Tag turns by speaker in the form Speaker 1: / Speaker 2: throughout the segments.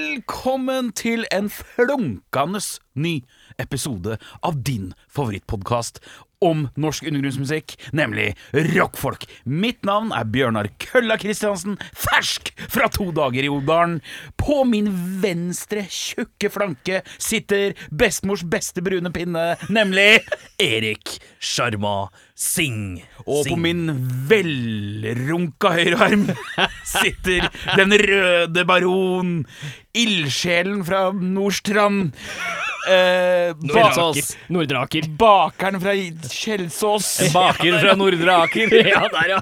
Speaker 1: Velkommen til en flunkende ny episode av din favorittpodkast om norsk undergrunnsmusikk, nemlig rockfolk. Mitt navn er Bjørnar Kølla Kristiansen, fersk fra to dager i Odalen. På min venstre tjukke flanke sitter bestemors beste brune pinne, nemlig
Speaker 2: Erik Sharma Singh.
Speaker 1: Og på
Speaker 2: Singh.
Speaker 1: min velrunka høyrearm sitter den røde baron, ildsjelen fra Nordstrand. Eh, bak
Speaker 2: Nordraker. Nordraker.
Speaker 1: bakeren fra Kjelsås.
Speaker 3: Baker fra Nordre Aker.
Speaker 2: ja, der, ja.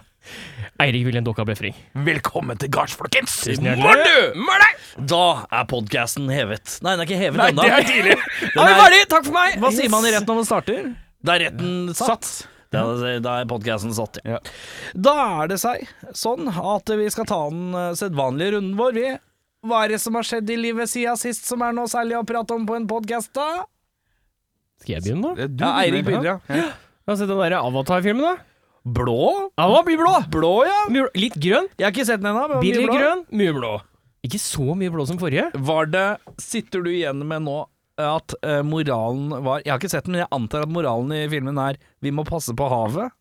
Speaker 3: Eirik Wilhelm Dokka Befring.
Speaker 1: Velkommen til gards, folkens!
Speaker 3: hjertelig.
Speaker 1: Mår du! Mår deg!
Speaker 2: Da er podkasten hevet. Nei, den er ikke hevet
Speaker 1: Nei,
Speaker 2: ennå.
Speaker 1: det er tidlig.
Speaker 2: Den
Speaker 1: Er vi
Speaker 2: er-
Speaker 1: ferdig? Takk for meg!
Speaker 2: Hva sier man i retten når man starter? Da er retten satt.
Speaker 1: Satt.
Speaker 2: Da da er podkasten satt, ja.
Speaker 1: Ja.
Speaker 2: Da er det seg sånn at vi skal ta den eh, sedvanlige runden vår, vi. Hva er det som har skjedd i livet siden sist som er noe særlig å prate om på en podkast, da? Mm,
Speaker 3: Skal jeg begynne, da?
Speaker 1: Du
Speaker 2: Ja, Eirik begynner, ja.
Speaker 3: Jeg har sett den der Avatar-filmen, da.
Speaker 2: Blå?
Speaker 3: Ava blir blå!
Speaker 2: Blå, ja.
Speaker 3: Mye blå. Litt grønn.
Speaker 2: Jeg har ikke sett den ennå. men mye
Speaker 3: Billig
Speaker 2: blå.
Speaker 3: grønn. Mye blå. Ikke så mye blå som forrige.
Speaker 2: Var det Sitter du igjen med nå at eh, moralen var Jeg har ikke sett den, men jeg antar at moralen i filmen er Vi må passe på havet.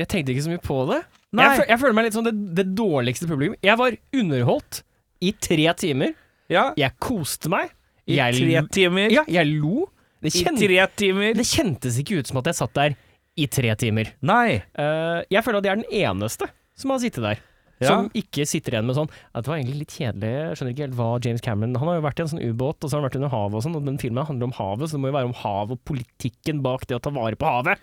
Speaker 3: Jeg tenkte ikke så mye på det.
Speaker 2: Nei.
Speaker 3: Jeg, føl jeg føler meg litt som det, det dårligste publikum. Jeg var underholdt i tre timer.
Speaker 2: Ja.
Speaker 3: Jeg koste meg.
Speaker 2: I
Speaker 3: Jeg,
Speaker 2: tre
Speaker 3: lo-
Speaker 2: timer.
Speaker 3: ja, jeg lo. Det,
Speaker 2: I
Speaker 3: kjen
Speaker 2: tre timer.
Speaker 3: det kjentes ikke ut som at jeg satt der i tre timer.
Speaker 2: Nei.
Speaker 3: Eh, jeg føler at jeg er den eneste som har sittet der.
Speaker 2: Ja.
Speaker 3: Som ikke sitter igjen med sånn «Ja, Det var egentlig litt kjedelig. Jeg skjønner ikke helt hva James Cameron Han har jo vært i en sånn ubåt, og så har han vært under havet og sånn, og den filmen handler om havet, så det må jo være om havet og politikken bak det å ta vare på havet.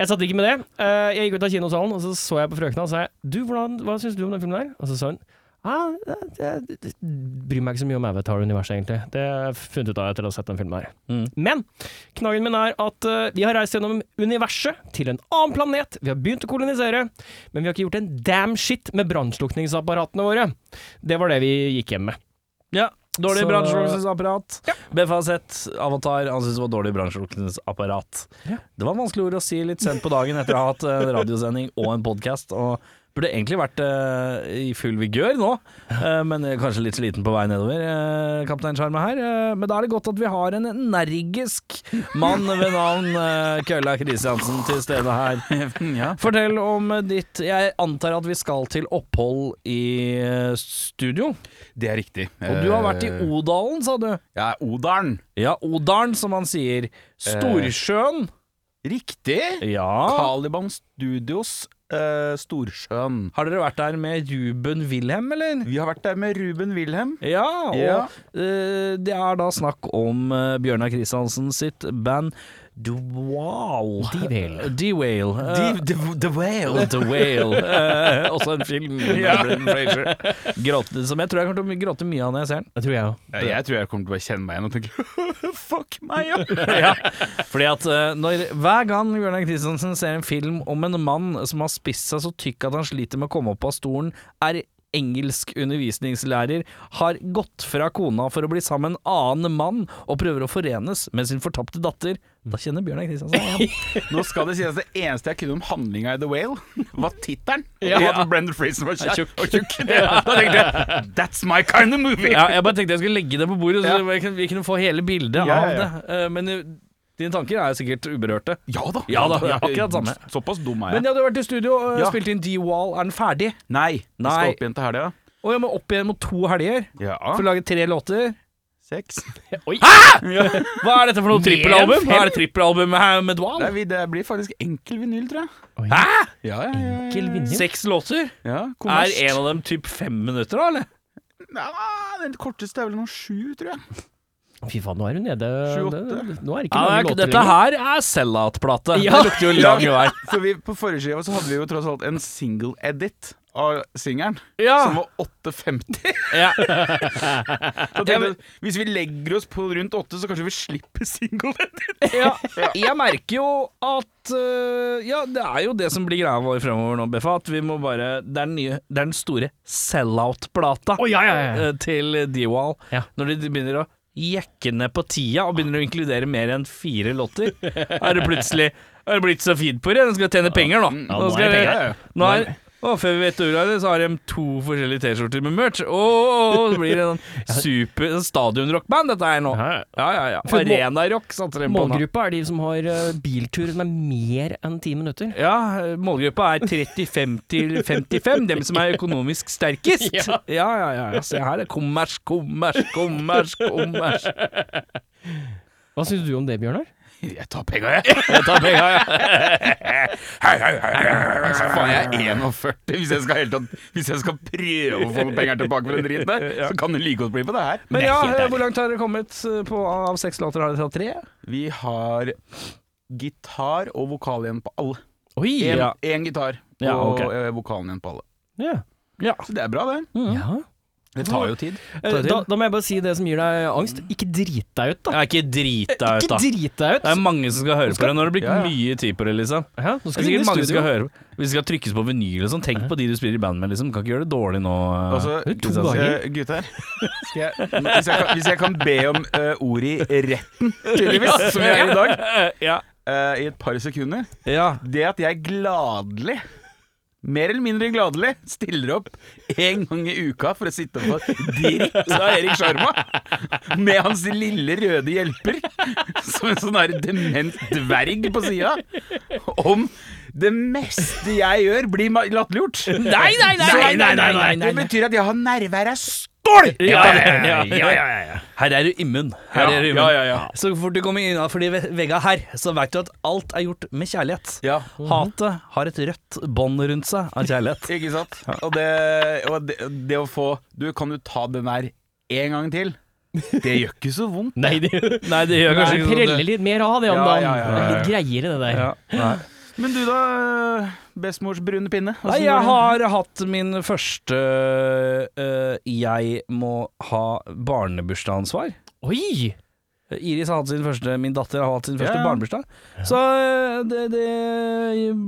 Speaker 3: Jeg satt ikke med det. Eh, jeg gikk ut av kinosalen, og så så jeg på frøkna og sa jeg, Du, hvordan, hva syns du om den filmen der? Og så sa hun ah, det, det, det bryr meg ikke så mye om Avatar-universet, egentlig. Det har jeg funnet ut av etter å ha sett den filmen her.
Speaker 2: Mm.
Speaker 3: Men knaggen min er at eh, vi har reist gjennom universet til en annen planet. Vi har begynt å kolonisere, men vi har ikke gjort en damn shit med brannslukningsapparatene våre. Det var det vi gikk hjem med.
Speaker 2: Ja. Dårlig
Speaker 3: Så-
Speaker 2: brannslukningsapparat. BFZ, Avatar, han syntes det var dårlig brannslukningsapparat.
Speaker 3: Ja.
Speaker 2: Det var vanskelig ord å si litt sent på dagen etter å ha hatt en radiosending og en podkast. Og burde egentlig vært eh, i full vigør nå, eh, men eh, kanskje litt sliten på vei nedover. eh, Kaptein Sjarme her. eh, men da er det godt at vi har en energisk mann ved navn eh, Kølla Kristiansen til stede her.
Speaker 1: Ja.
Speaker 2: Fortell om ditt Jeg antar at vi skal til opphold i eh, studio.
Speaker 1: Det er riktig.
Speaker 2: Og du har vært i Odalen, sa du? Eh.
Speaker 1: Ja, Odalen.
Speaker 2: Eh. Ja, Odalen, som han sier. Storsjøen.
Speaker 1: Riktig.
Speaker 2: Ja.
Speaker 1: Caliban Studios, eh, Storsjøen.
Speaker 2: Har dere vært der med Ruben Wilhelm, eller?
Speaker 1: Vi har vært der med Ruben Wilhelm.
Speaker 2: Ja, og
Speaker 1: Ja.
Speaker 2: eh, det er da snakk om eh, Bjørnar Kristiansen sitt band The Wall.
Speaker 3: D-Whale.
Speaker 2: The Whale. Eh,
Speaker 1: The, the, the Whale.
Speaker 2: The Whale. Eh, også en film med Brendan Fraser. Gråte, som jeg tror jeg kommer til å gråte mye av når jeg ser den.
Speaker 3: Det tror jeg òg.
Speaker 1: Ja, Eh, Jeg tror jeg kommer til å bare kjenne meg igjen og tenke Fuck meg, ja!
Speaker 2: ja. Fordi at eh, når, hver gang Bjørnar Kristiansen ser en film om en mann som har spist seg så tykk at han sliter med å komme opp av stolen, er engelsk undervisningslærer, har gått fra kona for å bli sammen med en annen mann og prøver å forenes med sin fortapte datter, da kjenner Bjørnar Kristiansen seg igjen.
Speaker 1: Nå skal det sies at det eneste jeg kunne om handlinga i The Whale, var tittelen.
Speaker 3: Ja.
Speaker 1: Og at Brendan Fraser var kjær og tjukk. Det- Da tenkte jeg That's my kind of movie!
Speaker 2: Ja, jeg bare tenkte jeg skulle legge det på bordet, så
Speaker 1: Ja.
Speaker 2: vi kunne- vi kunne få hele bildet
Speaker 1: Ja, ja,
Speaker 2: av
Speaker 1: ja.
Speaker 2: det. Eh, Men eh, dine tanker er sikkert uberørte.
Speaker 1: Ja da.
Speaker 2: Ja da, ja, akkurat samme.
Speaker 1: Såpass dum er jeg.
Speaker 2: Men ja, du har vært i studio og
Speaker 1: Ja.
Speaker 2: spilt inn D-Wall. Er den ferdig?
Speaker 1: nei. Vi
Speaker 2: Nei.
Speaker 1: skal opp igjen til helga.
Speaker 2: Og jeg må opp igjen mot to helger
Speaker 1: Ja.
Speaker 2: for å lage tre låter.
Speaker 1: Seks.
Speaker 3: Oi!
Speaker 2: Hva er dette for noe
Speaker 3: Mer enn
Speaker 2: trippelalbum?
Speaker 3: fem?
Speaker 2: Hva er det trippelalbum her med Dwan?
Speaker 1: Det, er vi- det blir faktisk enkel vinyl, tror jeg.
Speaker 3: Oi.
Speaker 1: Ja, ja, ja, ja.
Speaker 3: Enkel vinner.
Speaker 2: Seks låter?
Speaker 1: ja
Speaker 2: Er
Speaker 1: kommers.
Speaker 2: en av dem typ fem minutter, da? eller?
Speaker 1: ja, Den korteste er vel noen sju, tror jeg.
Speaker 3: Fy faen, nå er du nede.
Speaker 1: Sju-åtte.
Speaker 3: Det- Nå er det ikke
Speaker 2: Ja,
Speaker 3: mange
Speaker 2: det er-
Speaker 3: låter
Speaker 2: dette her er sell-out-plate.
Speaker 3: Ja.
Speaker 2: Det lukter jo lang vei.
Speaker 1: For vi, På forrige skiva så hadde vi jo tross alt en single edit av singelen,
Speaker 2: Ja.
Speaker 1: som var 8,50.
Speaker 2: Ja.
Speaker 1: Da tenkte jeg, hvis vi legger oss på rundt åtte, så kanskje vi slipper singelen din.
Speaker 2: Ja. Jeg merker jo at øh, Ja, det er jo det som blir greia vår fremover nå, Beffa. At vi må bare Det er den, nye, det er den store sell-out-plata
Speaker 3: Å, ja, ja, ja.
Speaker 2: øh, til D-Wall.
Speaker 3: Ja.
Speaker 2: Når de begynner å jekke ned på tida og begynner å inkludere mer enn fire låter, er det plutselig er det blitt så fint på det. Den skal tjene penger nå.
Speaker 3: Ja,
Speaker 2: nå,
Speaker 3: nå er
Speaker 2: skal
Speaker 3: det
Speaker 2: det
Speaker 3: penger, ja, ja.
Speaker 2: nå er, Og før vi vet ordet av det, så har de to forskjellige T-skjorter med merch. Og så blir det en super stadionrockband, dette her nå.
Speaker 3: Ja, ja.
Speaker 2: Ja, ja, ja.
Speaker 3: For må-
Speaker 2: Arenarock satser de på nå.
Speaker 3: Målgruppa er de som har eh, biltur som er mer enn ti minutter.
Speaker 2: Ja, målgruppa er 35 til 55, dem som er økonomisk sterkest. Ja,
Speaker 3: Ja.
Speaker 2: ja, ja. ja. Se her, det er kommers, kommers, kommers, kommers.
Speaker 3: Hva syns du om det, Bjørnar?
Speaker 1: Jeg tar penga, jeg. Jeg tar penga, jeg. Hei, hei, hei, hei, hei. Så faen, jeg er 41. Hvis jeg skal, helt tatt, hvis jeg skal prøve å få noen penger tilbake for den driten der, så kan det like godt bli på det her.
Speaker 2: Men
Speaker 3: Det er
Speaker 2: ja,
Speaker 3: helt ærlig.
Speaker 2: hvor langt har dere kommet eh, på, av seks låter? Har dere tatt tre?
Speaker 1: Vi har gitar og vokal igjen på alle.
Speaker 3: Oi!
Speaker 1: Én
Speaker 2: Ja.
Speaker 1: gitar og
Speaker 3: Ja, ok.
Speaker 1: eh, vokalen igjen på alle.
Speaker 3: Ja.
Speaker 1: Så det er bra, det.
Speaker 3: Ja.
Speaker 1: Det tar jo tid.
Speaker 3: Mm. Eh, Da, da må jeg bare si det som gir deg angst. Ikke drit deg ut, da.
Speaker 2: Jeg er ikke drita ut,
Speaker 3: Ikke
Speaker 2: da.
Speaker 3: drit deg
Speaker 2: Det er
Speaker 3: ut!
Speaker 2: mange som skal høre på det når det blir
Speaker 1: Ja, ja.
Speaker 2: mye tid på det, liksom.
Speaker 3: Hæ? Nå
Speaker 2: Det
Speaker 3: skal
Speaker 2: er
Speaker 3: vi inn i
Speaker 2: sikkert mange som skal
Speaker 3: studio.
Speaker 2: høre Vi skal trykkes på vinyl og sånn. Tenk på de du spiller i band med, liksom. Kan ikke gjøre det dårlig nå.
Speaker 1: Altså,
Speaker 3: det er to
Speaker 1: hvis jeg-
Speaker 3: dager.
Speaker 1: Gutter, skal jeg, hvis, jeg kan, hvis jeg kan be om eh, ordet i retten, tydeligvis, som jeg er i dag,
Speaker 2: ja.
Speaker 1: eh, i et par sekunder
Speaker 2: ja.
Speaker 1: Det at jeg gladelig, mer eller mindre gladelig, stiller opp en gang i uka for å sitte og få dritt av Erik Sjarma, med hans lille røde hjelper, som en sånn her dement dverg på sida, om det meste jeg gjør, blir ma- latterliggjort.
Speaker 2: Nei, nei, nei, nei, nei, nei, nei, nei.
Speaker 1: Det betyr at jeg har nerver av stål!
Speaker 2: Ja, ja, ja, Her er du immun. Her er du immun.
Speaker 1: Ja, ja, ja.
Speaker 2: Så fort du kommer innafor de ve- vegga her, så veit du at alt er gjort med kjærlighet.
Speaker 1: Ja.
Speaker 2: Hatet har et rødt bånd rundt seg av kjærlighet.
Speaker 1: Ikke sant? Og det, og det, det å få Du, kan du ta den der en gang til? Det gjør ikke så vondt.
Speaker 3: Nei, det
Speaker 2: Nei, det gjør
Speaker 3: Nei, preller litt mer av det om
Speaker 1: Ja,
Speaker 3: dagen.
Speaker 1: ja, ja, ja,
Speaker 3: Det er Litt greiere, det der.
Speaker 2: Ja. Nei.
Speaker 1: Men du da, eh, bestemors brune pinne? Hvordan
Speaker 2: Nei, jeg
Speaker 1: går
Speaker 2: har hatt min første øh, Jeg må ha barnebursdagsansvar.
Speaker 3: Oi!
Speaker 2: Iris har hatt sin første, min datter har hatt sin første
Speaker 1: Ja.
Speaker 2: barnebursdag. Så øh, det,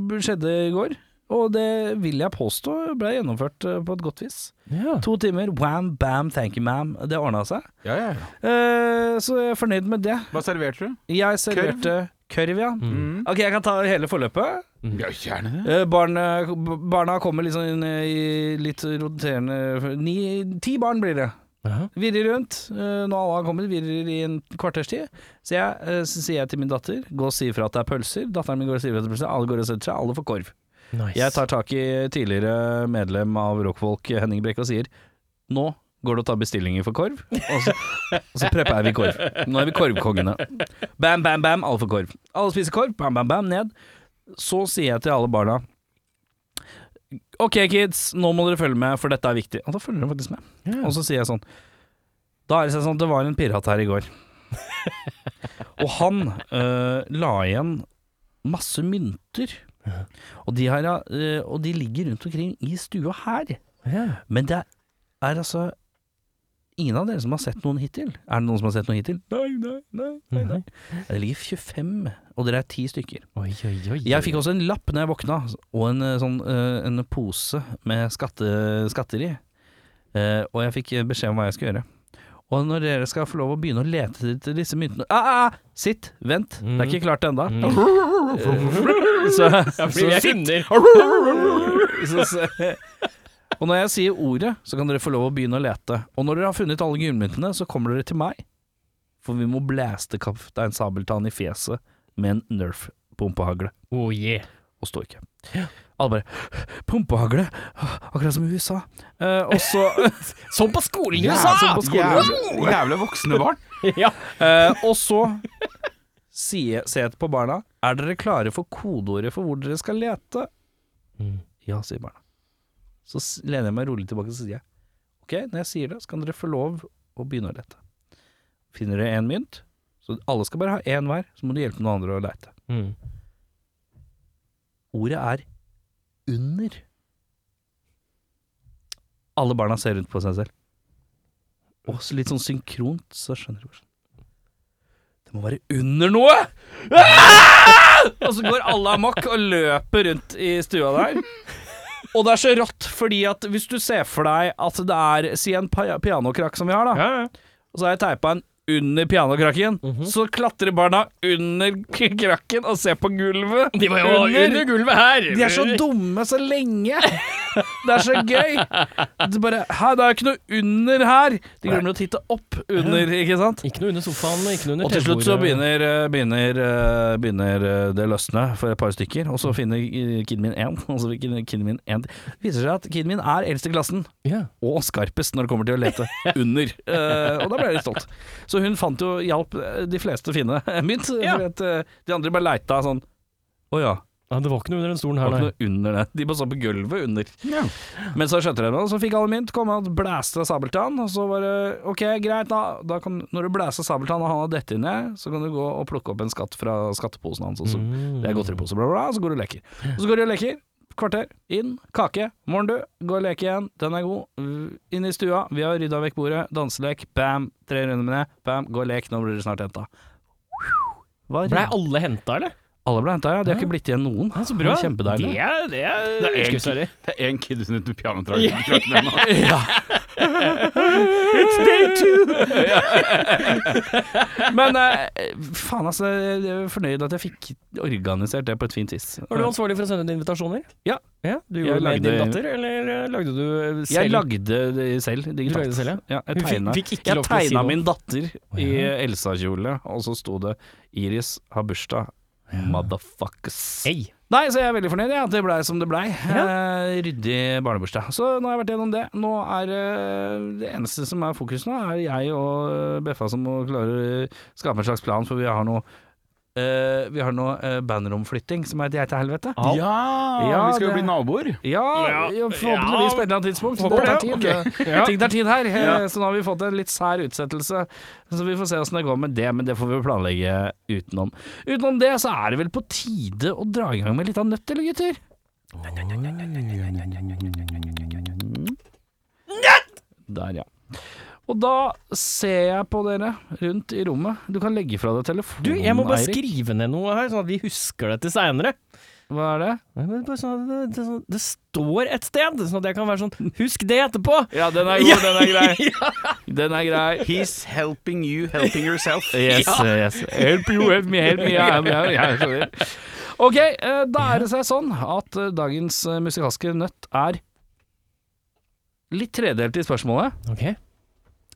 Speaker 2: det skjedde i går, og det vil jeg påstå ble gjennomført øh, på et godt vis.
Speaker 3: Ja.
Speaker 2: To timer, wam, bam, thank you ma'am. Det ordna seg.
Speaker 1: det? Ja, ja.
Speaker 2: Eh, så jeg er fornøyd med det.
Speaker 1: Hva serverte du?
Speaker 2: Jeg serverte kurv, ja.
Speaker 1: Mm.
Speaker 2: Ok, jeg kan ta hele forløpet.
Speaker 1: Ja, gjerne det.
Speaker 2: Eh, Barna, b- barna kommer liksom inn eh, i litt roterende ni, Ti barn blir det.
Speaker 3: Jaha.
Speaker 2: Virrer rundt. eh, Når alle har kommet, virrer i en kvarters tid. Så, jeg, eh, så sier jeg til min datter Gå og si ifra at det er pølser. Datteren min går og sier ifra at det er pølser. Alle går og setter seg. Alle får korv.
Speaker 3: Nice.
Speaker 2: Jeg tar tak i tidligere medlem av Rockfolk, Henning Brekke, og sier Nå går det å ta bestillinger for korv. Og så, og så prepper vi korv. Nå er vi korvkongene. Bam, bam, bam, alle får korv. Alle spiser korv, bam, bam, bam, ned. Så sier jeg til alle barna Ok, kids, nå må dere følge med, for dette er viktig. Og da følger de faktisk med.
Speaker 3: Ja.
Speaker 2: Og så sier jeg sånn Da er det seg sånn at det var en pirat her i går. og han øh, la igjen masse mynter. Og de, her, øh, og de ligger rundt omkring i stua her.
Speaker 3: Ja.
Speaker 2: Men det er altså Ingen av dere som har sett noen hittil? Er det noen som har sett noen hittil? Nei, nei, nei. nei, nei.
Speaker 3: Nei.
Speaker 2: Det ligger 25, og dere er ti stykker.
Speaker 3: Oi, oi, oi.
Speaker 2: Jeg fikk også en lapp når jeg våkna, og en, eh, sånn, eh, en pose med skatte, skatter i. Eh, og jeg fikk eh, beskjed om hva jeg skulle gjøre. Og når dere skal få lov å begynne å lete etter disse myntene ah, ah, Sitt, vent, det er ikke klart ennå. Så, så,
Speaker 3: Fordi Mm. jeg
Speaker 2: sitt.
Speaker 3: hunder.
Speaker 2: så, så. Og når jeg sier ordet, så kan dere få lov å begynne å lete. Og når dere har funnet alle gullmyntene, så kommer dere til meg. For vi må blæste kaptein Sabeltann i fjeset med en Nerf-pumpehagle.
Speaker 3: Oh yeah.
Speaker 2: Og stå ikke. Alle bare Pumpehagle! Akkurat som i USA. Eh, og så
Speaker 3: Som Sånn på skolen i
Speaker 2: Ja,
Speaker 3: USA!
Speaker 2: som på skolen.
Speaker 1: Jævla, jævla voksne barn.
Speaker 3: ja.
Speaker 2: eh, Og så sier ser jeg på barna Er dere klare for kodeordet for hvor dere skal lete? Ja, sier barna. Så s- lener jeg meg rolig tilbake og sier jeg, Ok, når jeg sier det, så kan dere få lov å begynne å lete. Finner dere én mynt, så alle skal bare ha én hver, så må du hjelpe noen andre å lete.
Speaker 3: Mm.
Speaker 2: Ordet er under. Alle barna ser rundt på seg selv. Og så litt sånn synkront, så skjønner de hvordan. Det må være under noe! Ah! Og så går alle amok og løper rundt i stua der. Og det er så rått, fordi at hvis du ser for deg at det er Si en pa- pianokrakk som vi har, da.
Speaker 3: Ja, ja.
Speaker 2: Og så har jeg teipa en under pianokrakken.
Speaker 3: Mhm.
Speaker 2: Så klatrer barna under k- krakken og ser på gulvet.
Speaker 3: De var jo under, gulvet her!
Speaker 2: De er så dumme så lenge! Det er så gøy! Det, bare, Hæ, det er jo ikke noe under her! De glemmer å titte opp under, ikke sant?
Speaker 3: Ikke noe under sofaen, ikke noe under
Speaker 2: Og til slutt så
Speaker 3: TV-bordet.
Speaker 2: begynner, eh, begynner, eh, begynner eh, det løsne for et par stykker, og så finner eh, kiden min én, og så finner kiden min én til. Det viser seg at kiden min er eldst i klassen,
Speaker 3: Ja.
Speaker 2: og skarpest når det kommer til å lete under. Eh, og da ble jeg litt stolt. Så hun fant jo hjalp eh, de fleste å finne mitt,
Speaker 3: Ja.
Speaker 2: for at, eh, de andre bare leita sånn Å ja.
Speaker 3: ja, det var ikke noe under den stolen
Speaker 2: Det
Speaker 3: her,
Speaker 2: var
Speaker 3: nei.
Speaker 2: ikke noe under det. De bare så på gulvet under. Men så skjønte de det, og så fikk alle mynt, kom og blæste Sabeltann, og så var det ok, greit, da, da kan, når du blæser Sabeltann og han har dette inne, så kan du gå og plukke opp en skatt fra skatteposen hans, og så
Speaker 3: Mm.
Speaker 2: det er godteripose, bla, bla, bla, og så går du og leker. Og så går du og leker, kvarter, inn, kake, morgen du, gå og leke igjen, den er god, v- inn i stua, vi har rydda vekk bordet, danselek, bam, tre runder med det, bam, gå og lek, nå blir du snart henta. Hva er
Speaker 3: Blei
Speaker 2: det?
Speaker 3: alle henta, eller?
Speaker 2: Alle ble henta, ja, de har ikke blitt igjen noen.
Speaker 3: Ja, så bra.
Speaker 2: Det er kjempedeilig.
Speaker 3: Det er, det er,
Speaker 1: Det er
Speaker 3: Skulle sorry.
Speaker 1: Det er én kid under pianotrakken ennå.
Speaker 2: It's day two! Men eh, faen, altså. Jeg er fornøyd at jeg fikk organisert det på et fint vis. Eh,
Speaker 3: Var du ansvarlig for å sende ut invitasjoner?
Speaker 2: Ja.
Speaker 3: du
Speaker 2: Jeg
Speaker 3: gjorde det med din
Speaker 1: lagde-
Speaker 3: datter, eller eh, lagde du eh, selv?
Speaker 2: Jeg lagde det selv digitalt.
Speaker 3: lagde det selv, ja?
Speaker 2: jeg
Speaker 3: Hun fikk-
Speaker 2: tegna,
Speaker 3: fikk ikke
Speaker 2: jeg
Speaker 3: lov til å si
Speaker 2: tegna
Speaker 3: noe.
Speaker 2: min datter i
Speaker 3: Ja.
Speaker 2: Elsa-kjole, og så sto det 'Iris har bursdag'. Motherfuckers.
Speaker 3: Ei.
Speaker 2: Nei, så jeg er veldig fornøyd. Ja. Det blei som det blei.
Speaker 3: Ja.
Speaker 2: Eh, ryddig barnebursdag. Så nå har jeg vært gjennom det. Nå er eh, det eneste som er fokus nå, er jeg og eh, Beffa som må klare å skape en slags plan, for vi har noe eh, Vi har noe eh, bandromflytting som er et jeg til helvete.
Speaker 3: Au.
Speaker 1: Ja,
Speaker 2: Ja,
Speaker 1: vi skal jo
Speaker 2: det-
Speaker 1: bli naboer.
Speaker 2: Ja,
Speaker 3: Ja.
Speaker 2: forhåpentligvis på et eller annet tidspunkt.
Speaker 1: Håper
Speaker 2: det tar
Speaker 1: det,
Speaker 2: tid.
Speaker 1: ok.
Speaker 2: Eh, Ting tar tid her, eh, så nå har vi fått en litt sær utsettelse. Så vi får se åssen det går med det, men det får vi planlegge utenom. Utenom det så er det vel på tide å dra i gang med litt av nøtt, eller gutter? Der, ja. Og da ser jeg på dere rundt i rommet. Du kan legge fra deg telefonen,
Speaker 3: Du, jeg må bare
Speaker 2: Eirik.
Speaker 3: skrive ned noe her, sånn at vi husker det til seinere.
Speaker 2: Hva er det?
Speaker 3: Det, sånn- det står et sted, sånn at jeg kan være sånn Husk det etterpå!
Speaker 2: Ja, den er
Speaker 3: god,
Speaker 2: den er grei. Den er grei.
Speaker 1: He's helping you helping yourself.
Speaker 2: Yes, yes. Help you, help me, help me. Ja, ja, ja, jeg skjønner. Ok, eh, da er det seg sånn at eh, dagens eh, musikalske nøtt er litt tredelt i spørsmålet.
Speaker 3: Ok.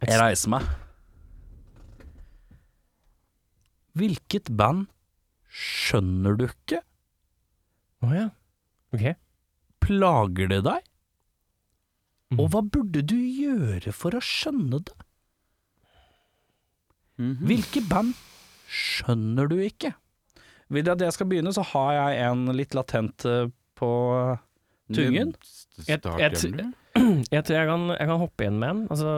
Speaker 2: Jeg reiser meg. Hvilket band skjønner du ikke?
Speaker 3: Å ja. Ok.
Speaker 2: Plager det deg?
Speaker 3: Mhm.
Speaker 2: Og hva burde du gjøre for å skjønne det?
Speaker 1: Mhm.
Speaker 2: Hvilke band skjønner du ikke? Vil dere at jeg skal begynne, så har jeg en litt latent eh, på Tungen?
Speaker 1: Jeg,
Speaker 3: Jeg- jeg- Jeg tror jeg kan, jeg kan hoppe inn med en. Altså,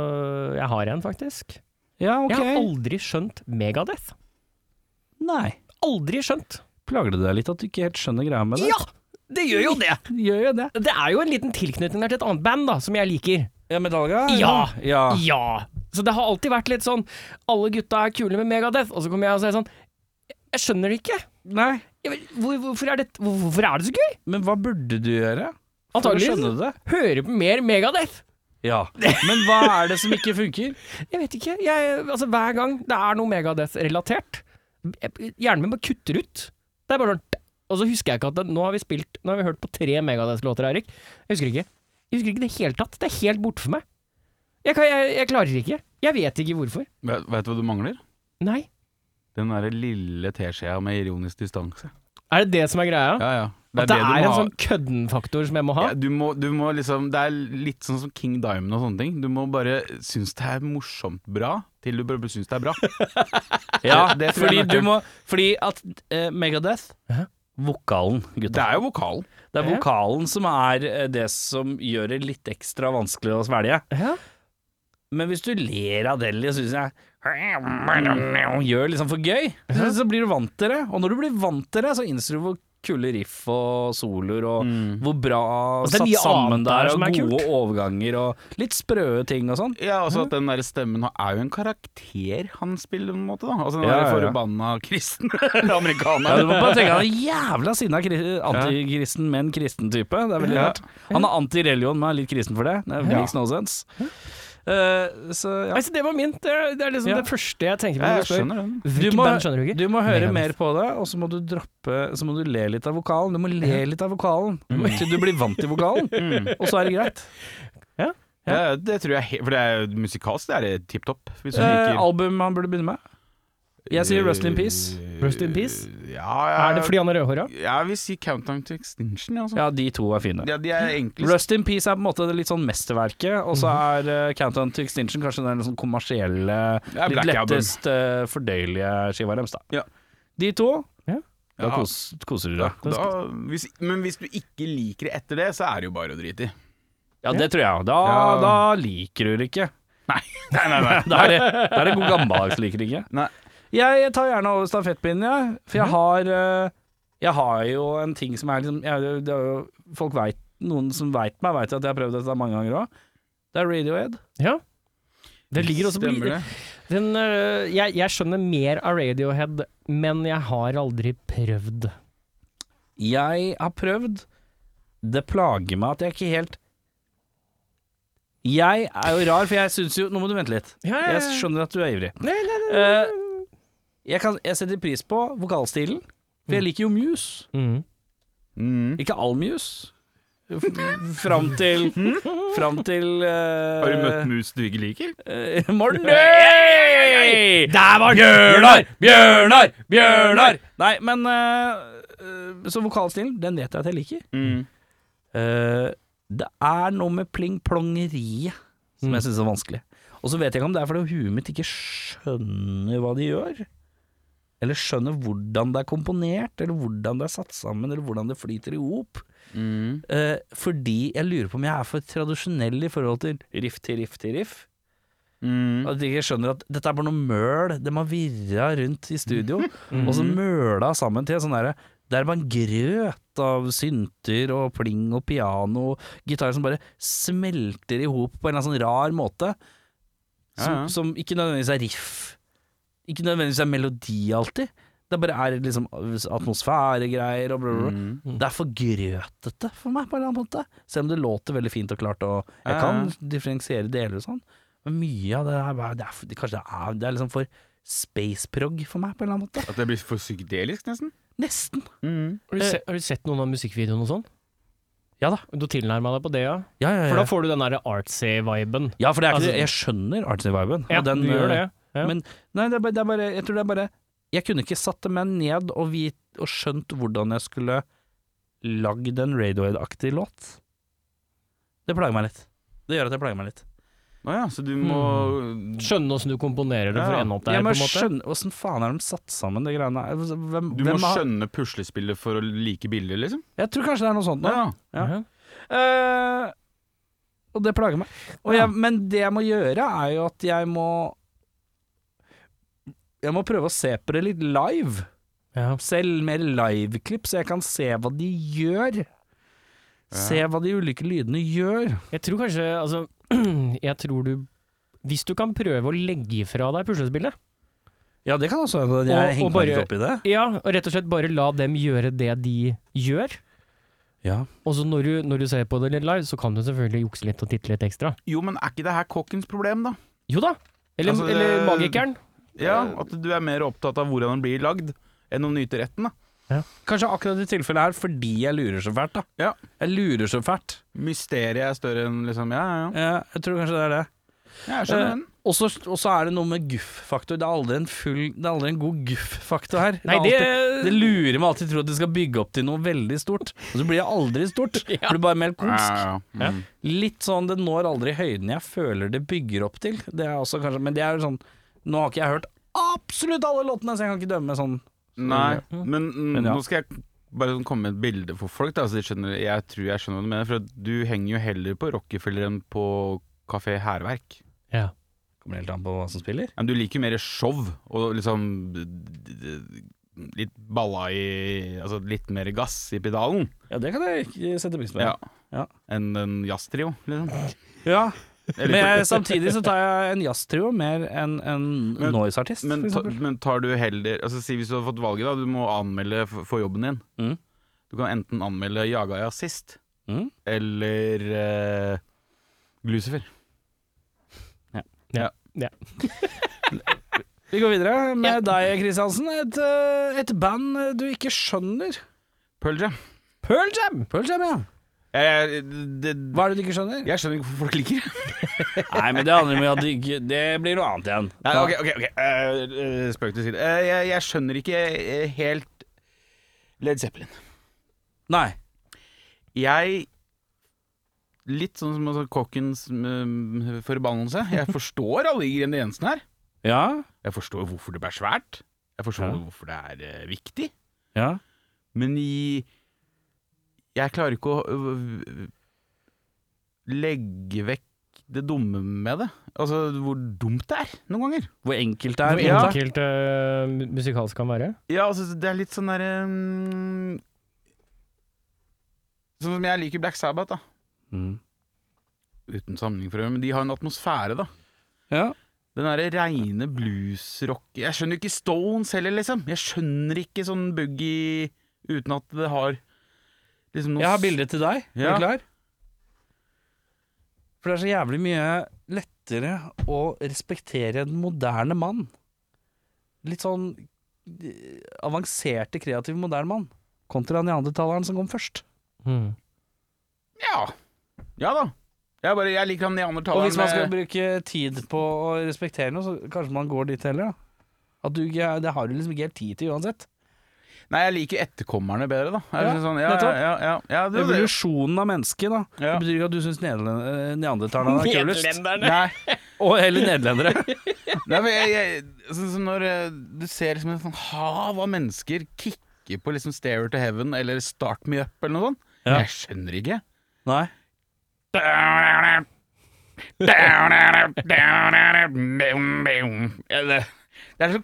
Speaker 3: jeg har en, faktisk.
Speaker 2: Ja, ok.
Speaker 3: Jeg har aldri skjønt Megadeth.
Speaker 2: Nei.
Speaker 3: Aldri skjønt.
Speaker 2: Plager det deg litt at du ikke helt skjønner greia med det?
Speaker 3: Ja! Det gjør jo det!
Speaker 2: Gjør jo det.
Speaker 3: Det er jo en liten tilknytning der til et annet band da, som jeg liker.
Speaker 2: Ja, Metallica?
Speaker 3: Ja.
Speaker 2: ja.
Speaker 3: Ja! Så det har alltid vært litt sånn Alle gutta er kule med Megadeth, og så kommer jeg og sier sånn Jeg skjønner det ikke.
Speaker 2: Nei.
Speaker 3: Jeg vet- hvor, hvorfor, er det, hvor, hvorfor er det så gøy?
Speaker 2: Men hva burde du gjøre? for å skjønne
Speaker 3: Antakeligvis
Speaker 2: det?
Speaker 3: høre på mer Megadeth.
Speaker 2: Ja. Men hva er det som ikke funker?
Speaker 3: Jeg vet ikke. Jeg, altså, hver gang det er noe Megadeth-relatert, jeg- hjernen min bare kutter ut. Det er bare sånn Og så husker jeg ikke at det, nå har vi spilt Nå har vi hørt på tre Megadeth-låter, Eirik. Jeg husker ikke. Jeg husker ikke det hele tatt. Det er helt borte for meg. Jeg, kan, jeg, jeg klarer ikke. Jeg vet ikke hvorfor.
Speaker 1: Vet vet du hva du mangler?
Speaker 3: Nei.
Speaker 1: Den derre lille teskjea med ironisk distanse.
Speaker 3: Er det det som er greia?
Speaker 1: Ja, ja.
Speaker 3: At det
Speaker 1: du må
Speaker 3: er en
Speaker 1: ha.
Speaker 3: sånn kødden-faktor som jeg må ha?
Speaker 1: Ja, du, må, du må liksom Det er litt sånn som King Diamond og sånne ting. Du må bare synes det er morsomt bra, til du bare synes det er bra.
Speaker 2: Ja,
Speaker 1: det tror
Speaker 2: fordi
Speaker 1: jeg er
Speaker 2: du
Speaker 1: nøkkelen.
Speaker 2: må Fordi at eh, Megadeth
Speaker 3: Hæ?
Speaker 2: Vokalen,
Speaker 1: Det
Speaker 2: gutta.
Speaker 1: er jo vokalen.
Speaker 2: Det er
Speaker 3: Ja.
Speaker 2: vokalen som er eh, det som gjør det litt ekstra vanskelig å svelge.
Speaker 3: Ja.
Speaker 2: Men hvis du ler av det litt, syns jeg Gjør liksom for gøy, så, så blir du vant til det. Og når du blir vant til det, så innser du hvor kule riff og soloer og hvor bra
Speaker 3: Og så er
Speaker 2: satt
Speaker 3: det mye
Speaker 2: sammen
Speaker 3: annet
Speaker 2: det
Speaker 3: der
Speaker 2: er,
Speaker 3: som er
Speaker 2: og gode
Speaker 3: kult.
Speaker 2: overganger og litt sprø ting og sånn.
Speaker 1: Ja, altså at den der stemmen er jo en karakter han spiller, på en måte. da Altså den
Speaker 2: Ja,
Speaker 1: der
Speaker 2: ja, ja.
Speaker 1: forbanna kristne
Speaker 2: Ja, du må
Speaker 1: amerikaneren.
Speaker 2: bare tenke Han er jævla sinna kri- antikristen, men kristen type. Det er veldig
Speaker 1: Ja.
Speaker 2: rart. Han er antireligion, men er litt kristen for det. Det
Speaker 1: Ja.
Speaker 2: makes no sense. Eh, så ja.
Speaker 3: Altså, det var min. Det er, det er liksom
Speaker 2: Ja.
Speaker 3: det første jeg tenker på. når
Speaker 1: Jeg
Speaker 3: du spør.
Speaker 1: skjønner den.
Speaker 2: Du
Speaker 3: Hvilken
Speaker 2: må-
Speaker 3: band skjønner du ikke?
Speaker 2: Du må høre
Speaker 3: Megadeth.
Speaker 2: mer på det, og så må du droppe Så må du le litt av vokalen. Du må le litt av vokalen til du blir vant til vokalen, og så er det greit.
Speaker 1: Ja, det tror jeg he- For det er jo musikalsk, det er tipp topp. Hvis du
Speaker 2: Eh,
Speaker 1: liker
Speaker 2: album han burde begynne med? Jeg sier Rust in Peace.
Speaker 3: Rust in Peace?
Speaker 1: Ja, ja.
Speaker 3: Er det fordi han er rødhåra?
Speaker 1: Jeg vil si Countdown to Extinction, ja, altså.
Speaker 2: Ja, de to er fine.
Speaker 1: Ja, de er egentlig
Speaker 2: Rust in Peace er på en måte det litt sånn mesterverket, og
Speaker 1: Mhm.
Speaker 2: så er eh, Countdown to Extinction kanskje den sånn kommersielle,
Speaker 1: Ja,
Speaker 2: litt
Speaker 1: Black Album.
Speaker 2: lettest eh, fordøyelige skiva deres, da.
Speaker 1: Ja.
Speaker 2: De to,
Speaker 3: Ja.
Speaker 2: da
Speaker 1: Ja.
Speaker 2: kos, koser du
Speaker 1: da,
Speaker 2: deg.
Speaker 1: da, hvis, Men hvis du ikke liker det etter det, så er det jo bare å drite i.
Speaker 2: Ja, det tror jeg. Da,
Speaker 1: Ja.
Speaker 2: da liker du det ikke.
Speaker 1: Nei, nei, nei. nei.
Speaker 2: Da er det, da er det god gammeldags liker det ikke.
Speaker 1: Nei. Mhm.
Speaker 2: Jeg tar gjerne over stafettpinnen, jeg. For jeg har eh, Jeg har jo en ting som er liksom jeg, det er jo, Folk vet, Noen som veit meg, veit at jeg har prøvd dette mange ganger òg. Det er Radiohead.
Speaker 3: Ja. Det ligger også på
Speaker 1: Stemmer det.
Speaker 3: den, øh, jeg, jeg skjønner mer av Radiohead, men jeg har aldri prøvd.
Speaker 2: Jeg har prøvd. Det plager meg at jeg ikke helt Jeg er jo rar, for jeg syns jo Nå må du vente litt.
Speaker 3: Ja, ja, ja.
Speaker 2: Jeg skjønner at du er ivrig.
Speaker 3: Nei, nei, nei.
Speaker 2: Eh, jeg, kan, jeg setter pris på vokalstilen, for jeg liker jo Muse.
Speaker 3: Mm.
Speaker 1: Mm.
Speaker 2: Ikke all Muse. F- Fram til Fram til eh,
Speaker 1: Har du møtt mus du ikke liker?
Speaker 2: eh, Morten? Hey!
Speaker 3: Der var
Speaker 2: Bjørnar! Bjørnar! Bjørnar! Nei, men eh, eh, Så vokalstilen, den vet jeg at jeg liker. Eh, det er noe med pling-plongeriet som jeg syns er vanskelig. Og så vet jeg ikke om det er fordi huet mitt ikke skjønner hva de gjør. Eller skjønner hvordan det er komponert, eller hvordan det er satt sammen, eller hvordan det flyter i hop.
Speaker 1: Mm.
Speaker 2: Eh, fordi jeg lurer på om jeg er for tradisjonell i forhold til riff til riff til riff.
Speaker 1: Mm.
Speaker 2: At jeg ikke skjønner at dette er bare noe møl de har virra rundt i studio,
Speaker 1: Mm.
Speaker 2: og så møla sammen til sånn derre det er bare en grøt av synter og pling og piano og gitar som bare smelter i hop på en eller annen sånn rar måte, som,
Speaker 1: Ja, ja.
Speaker 2: som ikke nødvendigvis er riff. Ikke nødvendigvis er melodi alltid. Det bare er liksom atmosfæregreier og bla, bla, bla.
Speaker 1: Mm.
Speaker 2: Det er for grøtete for meg, på en eller annen måte. Selv om det låter veldig fint og klart, og jeg
Speaker 1: Ja,
Speaker 2: kan
Speaker 1: ja.
Speaker 2: differensiere deler og sånn. Men mye av det her bare- det er, for- det, Kanskje det er, det er liksom for spaceprog for meg, på en eller annen måte.
Speaker 1: At det blir for psykedelisk, nesten?
Speaker 2: Nesten.
Speaker 1: Mm.
Speaker 3: Har, du se, har du sett noen av musikkvideoene og sånn?
Speaker 2: Eh. Ja da.
Speaker 3: Du tilnærma deg på det, ja?
Speaker 2: Eh, Ja, ja, ja.
Speaker 3: For da får du den derre artsy-viben.
Speaker 2: ja, for det er ikke,
Speaker 3: Altså-
Speaker 2: jeg skjønner artsy-viben.
Speaker 3: Ja,
Speaker 2: og den,
Speaker 3: du gjør det.
Speaker 2: eh,
Speaker 3: Ja.
Speaker 2: Men nei, det er, bare, det er bare Jeg tror det er bare Jeg kunne ikke satt meg ned og, vit, og skjønt hvordan jeg skulle lagd en Radiohead-aktig låt. Det plager meg litt. Det gjør at jeg plager meg litt.
Speaker 1: Å ja, så du må
Speaker 3: Skjønne åssen du komponerer det for å
Speaker 1: Ja.
Speaker 3: ende opp der,
Speaker 2: jeg
Speaker 3: på
Speaker 2: må
Speaker 3: en måte.
Speaker 2: skjønne Åssen faen er de satt sammen, de greiene her? Hvem,
Speaker 1: Du må
Speaker 2: hvem har-
Speaker 1: skjønne puslespillet for å like bildet, liksom?
Speaker 2: Jeg tror kanskje det er noe sånt nå.
Speaker 1: Ja.
Speaker 2: Ja.
Speaker 3: Ja.
Speaker 2: Eh, og det plager meg. Og
Speaker 1: Ja.
Speaker 2: jeg, men det jeg må gjøre, er jo at jeg må Jeg må prøve å se på det litt live.
Speaker 3: Ja.
Speaker 2: Selv mer liveklipp, så jeg kan se hva de gjør. Se hva de ulike lydene gjør.
Speaker 3: Jeg tror kanskje Altså, jeg tror du Hvis du kan prøve å legge fra deg puslespillet
Speaker 2: Ja, det kan også hende at
Speaker 3: Og-
Speaker 2: jeg
Speaker 3: og
Speaker 2: henger meg
Speaker 3: bare-
Speaker 2: litt opp i det.
Speaker 3: Ja, og rett og slett bare la dem gjøre det de gjør.
Speaker 2: Ja.
Speaker 3: Og så når du, når du ser på det litt live, så kan du selvfølgelig jukse litt og titte litt ekstra.
Speaker 1: Jo, men er ikke det her kokkens problem, da?
Speaker 3: Jo da! Eller,
Speaker 1: Altså, det-
Speaker 3: eller magikeren.
Speaker 1: Ja, Eh, At du er mer opptatt av hvordan den blir lagd, enn å nyte retten, da.
Speaker 2: Kanskje akkurat i tilfellet her fordi jeg lurer så fælt, da.
Speaker 1: Ja.
Speaker 2: Jeg lurer så fælt.
Speaker 1: Mysteriet er større enn liksom Ja, ja,
Speaker 2: Ja, jeg tror kanskje det er det.
Speaker 1: ja. Jeg skjønner den.
Speaker 2: Og så og så er det noe med guff-faktor. Det er aldri en full Det er aldri en god guff-faktor her.
Speaker 3: Nei,
Speaker 2: er
Speaker 3: det,
Speaker 2: alltid, det lurer meg alltid til å tro at de skal bygge opp til noe veldig stort, og så blir det aldri stort. Det Blir bare mer konsk.
Speaker 1: Ja, ja, ja. Mm.
Speaker 2: Litt sånn det når aldri høyden jeg føler det bygger opp til. Det er også kanskje Men det er jo sånn Nå har ikke jeg hørt absolutt alle låtene, så jeg kan ikke dømme sånn.
Speaker 1: Nei,
Speaker 2: Mhm.
Speaker 1: men, mm,
Speaker 2: Men ja.
Speaker 1: nå skal jeg bare sånn komme med et bilde for folk. Da, så de skjønner, jeg tror jeg skjønner hva du mener, for at du henger jo heller på Rockefeller enn på Kafé Hærverk.
Speaker 3: ja.
Speaker 2: Kommer helt an på hva som spiller.
Speaker 1: Men du liker mer show og liksom d- d- d- litt balla i Altså litt mer gass i pedalen
Speaker 2: Ja, det kan jeg ikke sette pris på.
Speaker 1: Ja.
Speaker 2: Ja.
Speaker 1: enn en jazztrio, liksom.
Speaker 2: Ja,
Speaker 1: Eller-
Speaker 2: Men jeg, samtidig så tar jeg en jazztrio mer enn en
Speaker 1: Men-
Speaker 2: noise-artist,
Speaker 1: men,
Speaker 2: for
Speaker 1: ta,
Speaker 2: eksempel.
Speaker 1: men tar du heller Altså Si hvis du har fått valget, da. Du må anmelde f- for jobben din.
Speaker 2: Mm.
Speaker 1: Du kan enten anmelde Jaga jazzist
Speaker 2: Mm.
Speaker 1: eller eh, Glucifer.
Speaker 3: Ja. Ja.
Speaker 2: Vi går videre med deg, Kristiansen. Et, eh, et band eh, du ikke skjønner.
Speaker 1: Pearl Jam.
Speaker 2: Pearl Jam! Pearl Jam, ja.
Speaker 1: Jeg, det,
Speaker 2: Hva er det du ikke skjønner?
Speaker 1: jeg skjønner ikke hvorfor folk liker det.
Speaker 2: Nei, men det handler om at du ikke Det blir noe annet igjen.
Speaker 1: Nei, ok, ok, ok. Eh, eh, Spøk til side. Eh, jeg, jeg skjønner ikke eh, helt Led Zeppelin.
Speaker 2: Nei.
Speaker 1: Jeg Litt sånn som altså, kokkens mm, forbannelse. Jeg forstår alle ingrediensene her.
Speaker 2: Ja.
Speaker 1: Jeg forstår hvorfor det ble svært. Jeg forstår
Speaker 2: Ja.
Speaker 1: hvorfor det er eh, viktig.
Speaker 2: Ja.
Speaker 1: Men i Jeg klarer ikke å øh, øh, legge vekk det dumme med det. Altså hvor dumt det er noen ganger.
Speaker 2: Hvor enkelt det
Speaker 3: Hvor
Speaker 2: er.
Speaker 1: Ja.
Speaker 3: enkelt eh, mu- musikalsk kan være.
Speaker 1: Ja, altså det er litt sånn derre mm, Sånn som jeg liker Black Sabbath, da.
Speaker 2: Mm.
Speaker 1: Uten sammenligning for øvrig, men de har en atmosfære, da.
Speaker 2: Ja.
Speaker 1: Den derre reine bluesrock Jeg skjønner jo ikke Stones heller, liksom. Jeg skjønner ikke sånn boogie uten at det har liksom noe
Speaker 2: Jeg har bildet til deg. Er
Speaker 1: Ja.
Speaker 2: du klar? For det er så jævlig mye lettere å respektere en moderne mann. Litt sånn eh, avanserte, kreativ, moderne mann. Kontra neandertaleren som kom først.
Speaker 3: Hmm.
Speaker 1: Ja. Ja da. Jeg, bare, jeg liker han
Speaker 2: Og
Speaker 1: neandertaleren
Speaker 2: hvis man skal
Speaker 1: med-
Speaker 2: bruke tid på å respektere noe, så kanskje man går dit heller, da. At du, ikke- det har du liksom ikke helt tid til uansett.
Speaker 1: Nei, jeg liker etterkommerne bedre, da. Jeg
Speaker 2: Ja,
Speaker 1: synes sånn, ja, ja,
Speaker 2: nettopp.
Speaker 1: ja, ja, ja, det, det,
Speaker 2: Evolusjonen av mennesket, da.
Speaker 1: Ja.
Speaker 2: Det betyr ikke at du syns eh, neandertalerne er kulest.
Speaker 1: Nei,
Speaker 2: Og heller nederlendere.
Speaker 1: nei, men jeg, jeg, sånn som når eh, du ser liksom et sånn hav av mennesker kikke på liksom Stair to Heaven eller Start Me Up eller noe sånt.
Speaker 2: Ja.
Speaker 1: Jeg skjønner ikke.
Speaker 2: Nei.
Speaker 1: Eller, Det er så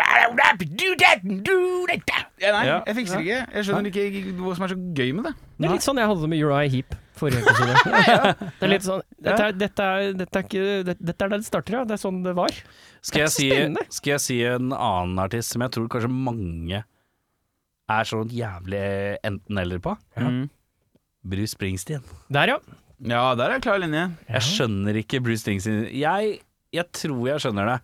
Speaker 1: ja, Nei,
Speaker 2: Ja.
Speaker 1: jeg fikser ikke. Jeg skjønner ikke hva som er så gøy med det.
Speaker 3: Det er litt sånn jeg hadde det med Uriah Heap forrige episode. det er litt sånn, dette, er, dette, er, dette, er ikke, dette- dette er der det starter, ja. Det er sånn det var.
Speaker 2: Skal jeg, si,
Speaker 3: Spennende.
Speaker 2: skal jeg si en annen artist som jeg tror kanskje mange er sånn jævlig enten-eller på?
Speaker 1: Mm.
Speaker 2: Bruce Springsteen.
Speaker 3: Der, ja.
Speaker 1: Ja, der er klar linje.
Speaker 2: Jeg skjønner ikke Bruce Springsteen. Jeg, jeg tror jeg skjønner det,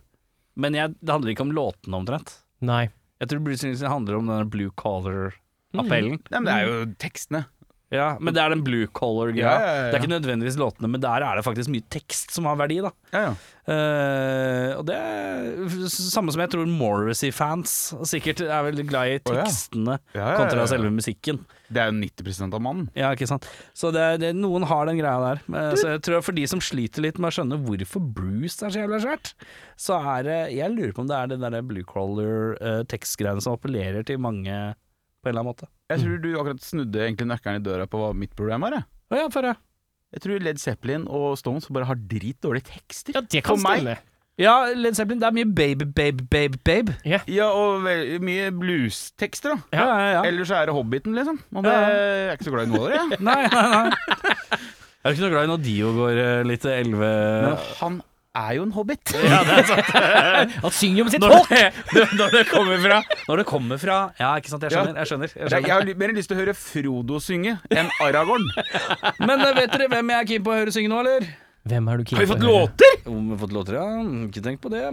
Speaker 2: men jeg, det handler ikke om låtene omtrent.
Speaker 3: Nei.
Speaker 2: Jeg tror Bruce Springsteen handler om denne blue collar-appellen.
Speaker 1: Nei, men det er jo tekstene.
Speaker 2: Ja, men det er den blue collar-greia.
Speaker 1: Ja, ja, ja, ja.
Speaker 2: Det er ikke nødvendigvis låtene, men der er det faktisk mye tekst som har verdi, da.
Speaker 1: Ja, ja.
Speaker 2: Eh, og det er samme som jeg tror Morrissey-fans sikkert er veldig glad i
Speaker 1: Å, ja.
Speaker 2: tekstene
Speaker 1: Ja, ja, ja,
Speaker 2: kontra
Speaker 1: ja.
Speaker 2: selve musikken.
Speaker 1: Det er jo 90 av mannen.
Speaker 2: Ja, ikke sant? Så det, er- det, noen har den greia der. Eh, så jeg tror for de som sliter litt med å skjønne hvorfor Bruce er så jævla svært, så er det Jeg lurer på om det er den derre blue collar-tekstgreiene som appellerer til mange på en eller annen måte.
Speaker 1: Jeg tror du akkurat snudde egentlig nøkkelen i døra på hva mitt problem er. jeg.
Speaker 2: Å ja, for det.
Speaker 1: Jeg tror Led Zeppelin og Stones bare har dritdårlige tekster.
Speaker 3: Ja, det
Speaker 1: For
Speaker 3: kan
Speaker 1: meg-
Speaker 3: stemme.
Speaker 2: Ja, Led Zeppelin, det er mye baby, baby, baby, babe.
Speaker 1: Ja, og vel- mye bluestekster, da.
Speaker 2: Ja, ja, ja.
Speaker 1: Ellers så er det Hobbiten, liksom. Og det,
Speaker 2: Ja.
Speaker 1: jeg er ikke så glad i noe av det. jeg.
Speaker 2: Nei, nei, nei. Jeg er ikke noe glad i når Dio går eh, litt elleve...
Speaker 1: Men han er jo en hobbit.
Speaker 3: Han synger jo om sitt
Speaker 2: når
Speaker 3: folk!
Speaker 2: det, når det kommer fra Når det kommer fra Ja, ikke sant, jeg skjønner, jeg skjønner, jeg
Speaker 1: Jeg
Speaker 2: skjønner.
Speaker 1: har ly- mer lyst til å høre Frodo synge enn Aragorn.
Speaker 2: Men eh, vet dere hvem jeg er keen på å høre synge nå, eller?
Speaker 3: Hvem er du keen
Speaker 1: Har vi fått
Speaker 3: å høre?
Speaker 1: låter?!
Speaker 2: Om vi har fått låter, ja. Ikke tenk på det.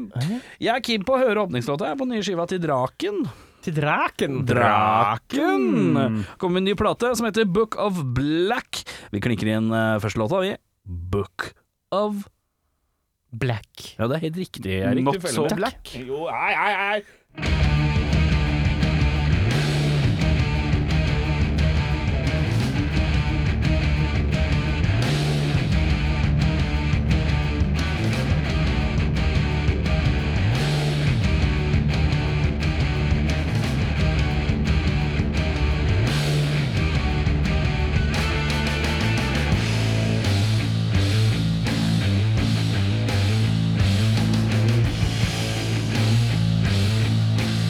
Speaker 2: Jeg er keen på å høre åpningslåta jeg, på den nye skiva til Draken.
Speaker 3: Til draken.
Speaker 2: Draken! Kommer en ny plate som heter Book of Black. Vi klinker inn eh, første låta, vi. Book of
Speaker 3: Black.
Speaker 2: Ja, det er helt riktig, Erik.
Speaker 1: Not so
Speaker 2: black.
Speaker 1: black.
Speaker 3: Jo, ei, ei, ei.
Speaker 1: Black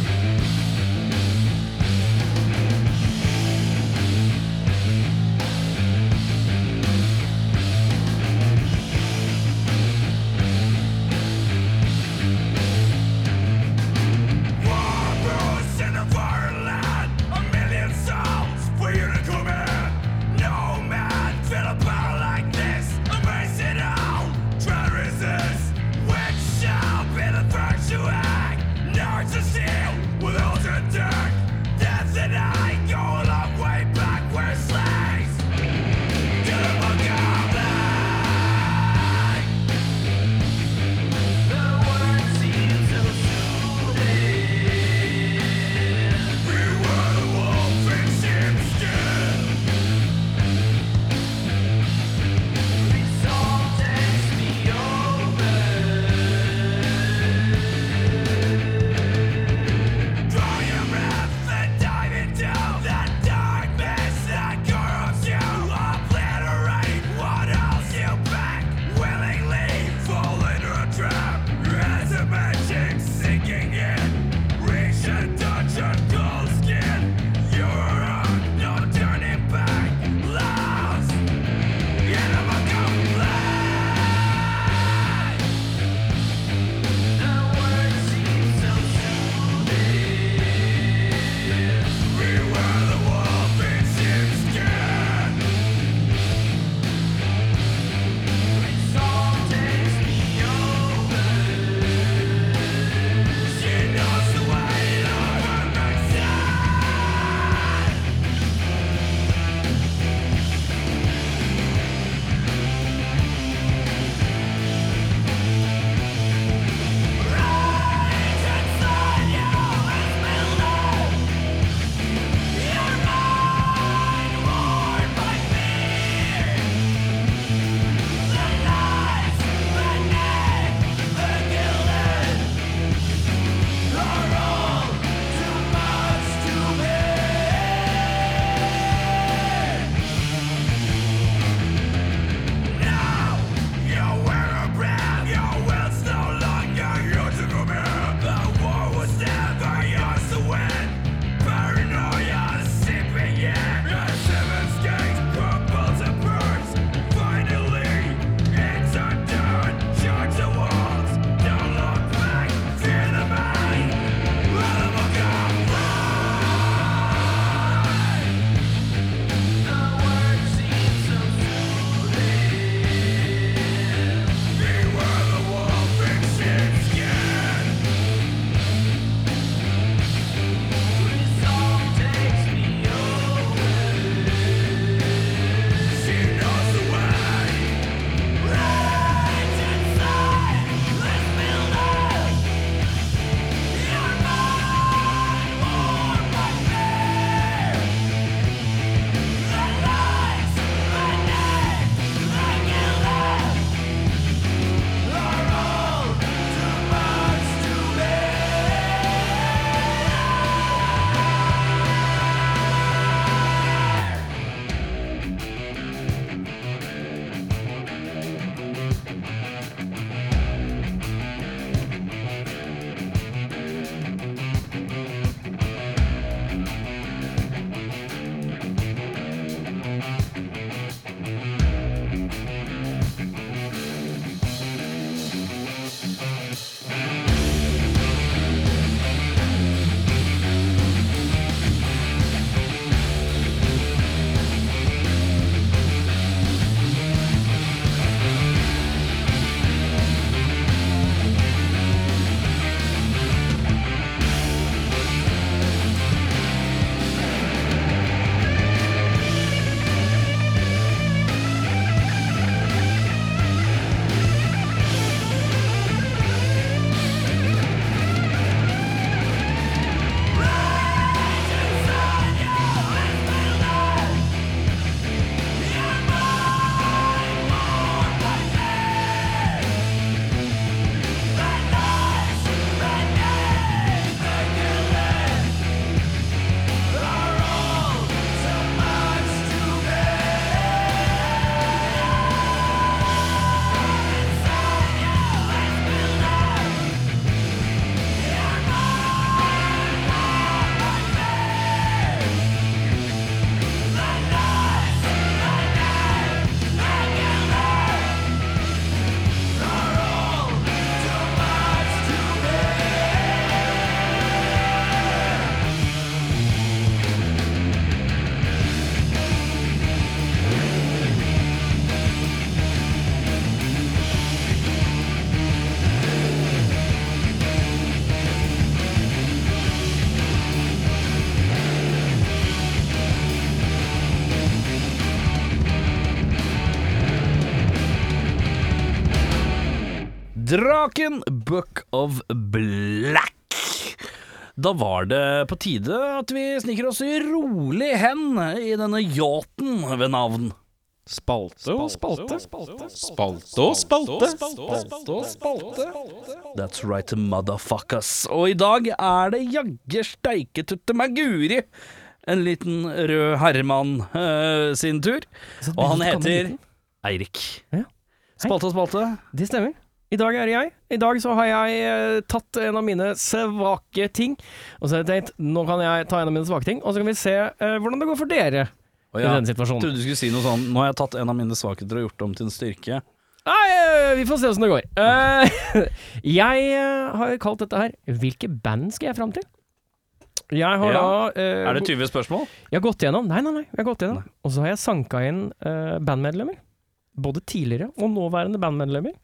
Speaker 2: Draken, Book of Black. Da var det på tide at vi sniker oss rolig hen i denne yachten ved navn Spalte og spalte.
Speaker 1: Spalte og spalte.
Speaker 2: That's right, motherfuckers. Og i dag er det jagge steike tutte meg guri en liten rød herremann eh, sin tur. Og han heter Eirik.
Speaker 3: Ja. Hei.
Speaker 2: Spalte og spalte.
Speaker 3: Det stemmer. I dag er det jeg. I dag så har jeg eh, tatt en av mine svake ting. Og så har jeg tenkt, nå kan jeg ta en av mine svake ting, og så kan vi se eh, hvordan det går for dere
Speaker 2: Og
Speaker 3: i
Speaker 2: ja,
Speaker 3: denne situasjonen.
Speaker 2: trodde du skulle si noe sånn Nå har jeg tatt en av mine svakheter og gjort det om til en styrke.
Speaker 3: Nei, eh, vi får se åssen det går. Eh, jeg eh, har kalt dette her Hvilke band skal jeg fram til? Jeg har
Speaker 2: Ja.
Speaker 3: da eh,
Speaker 2: Er det 20 spørsmål?
Speaker 3: Jeg har gått gjennom Nei, nei, nei. Jeg har gått gjennom Og så har jeg sanka inn eh, bandmedlemmer. Både tidligere og nåværende bandmedlemmer.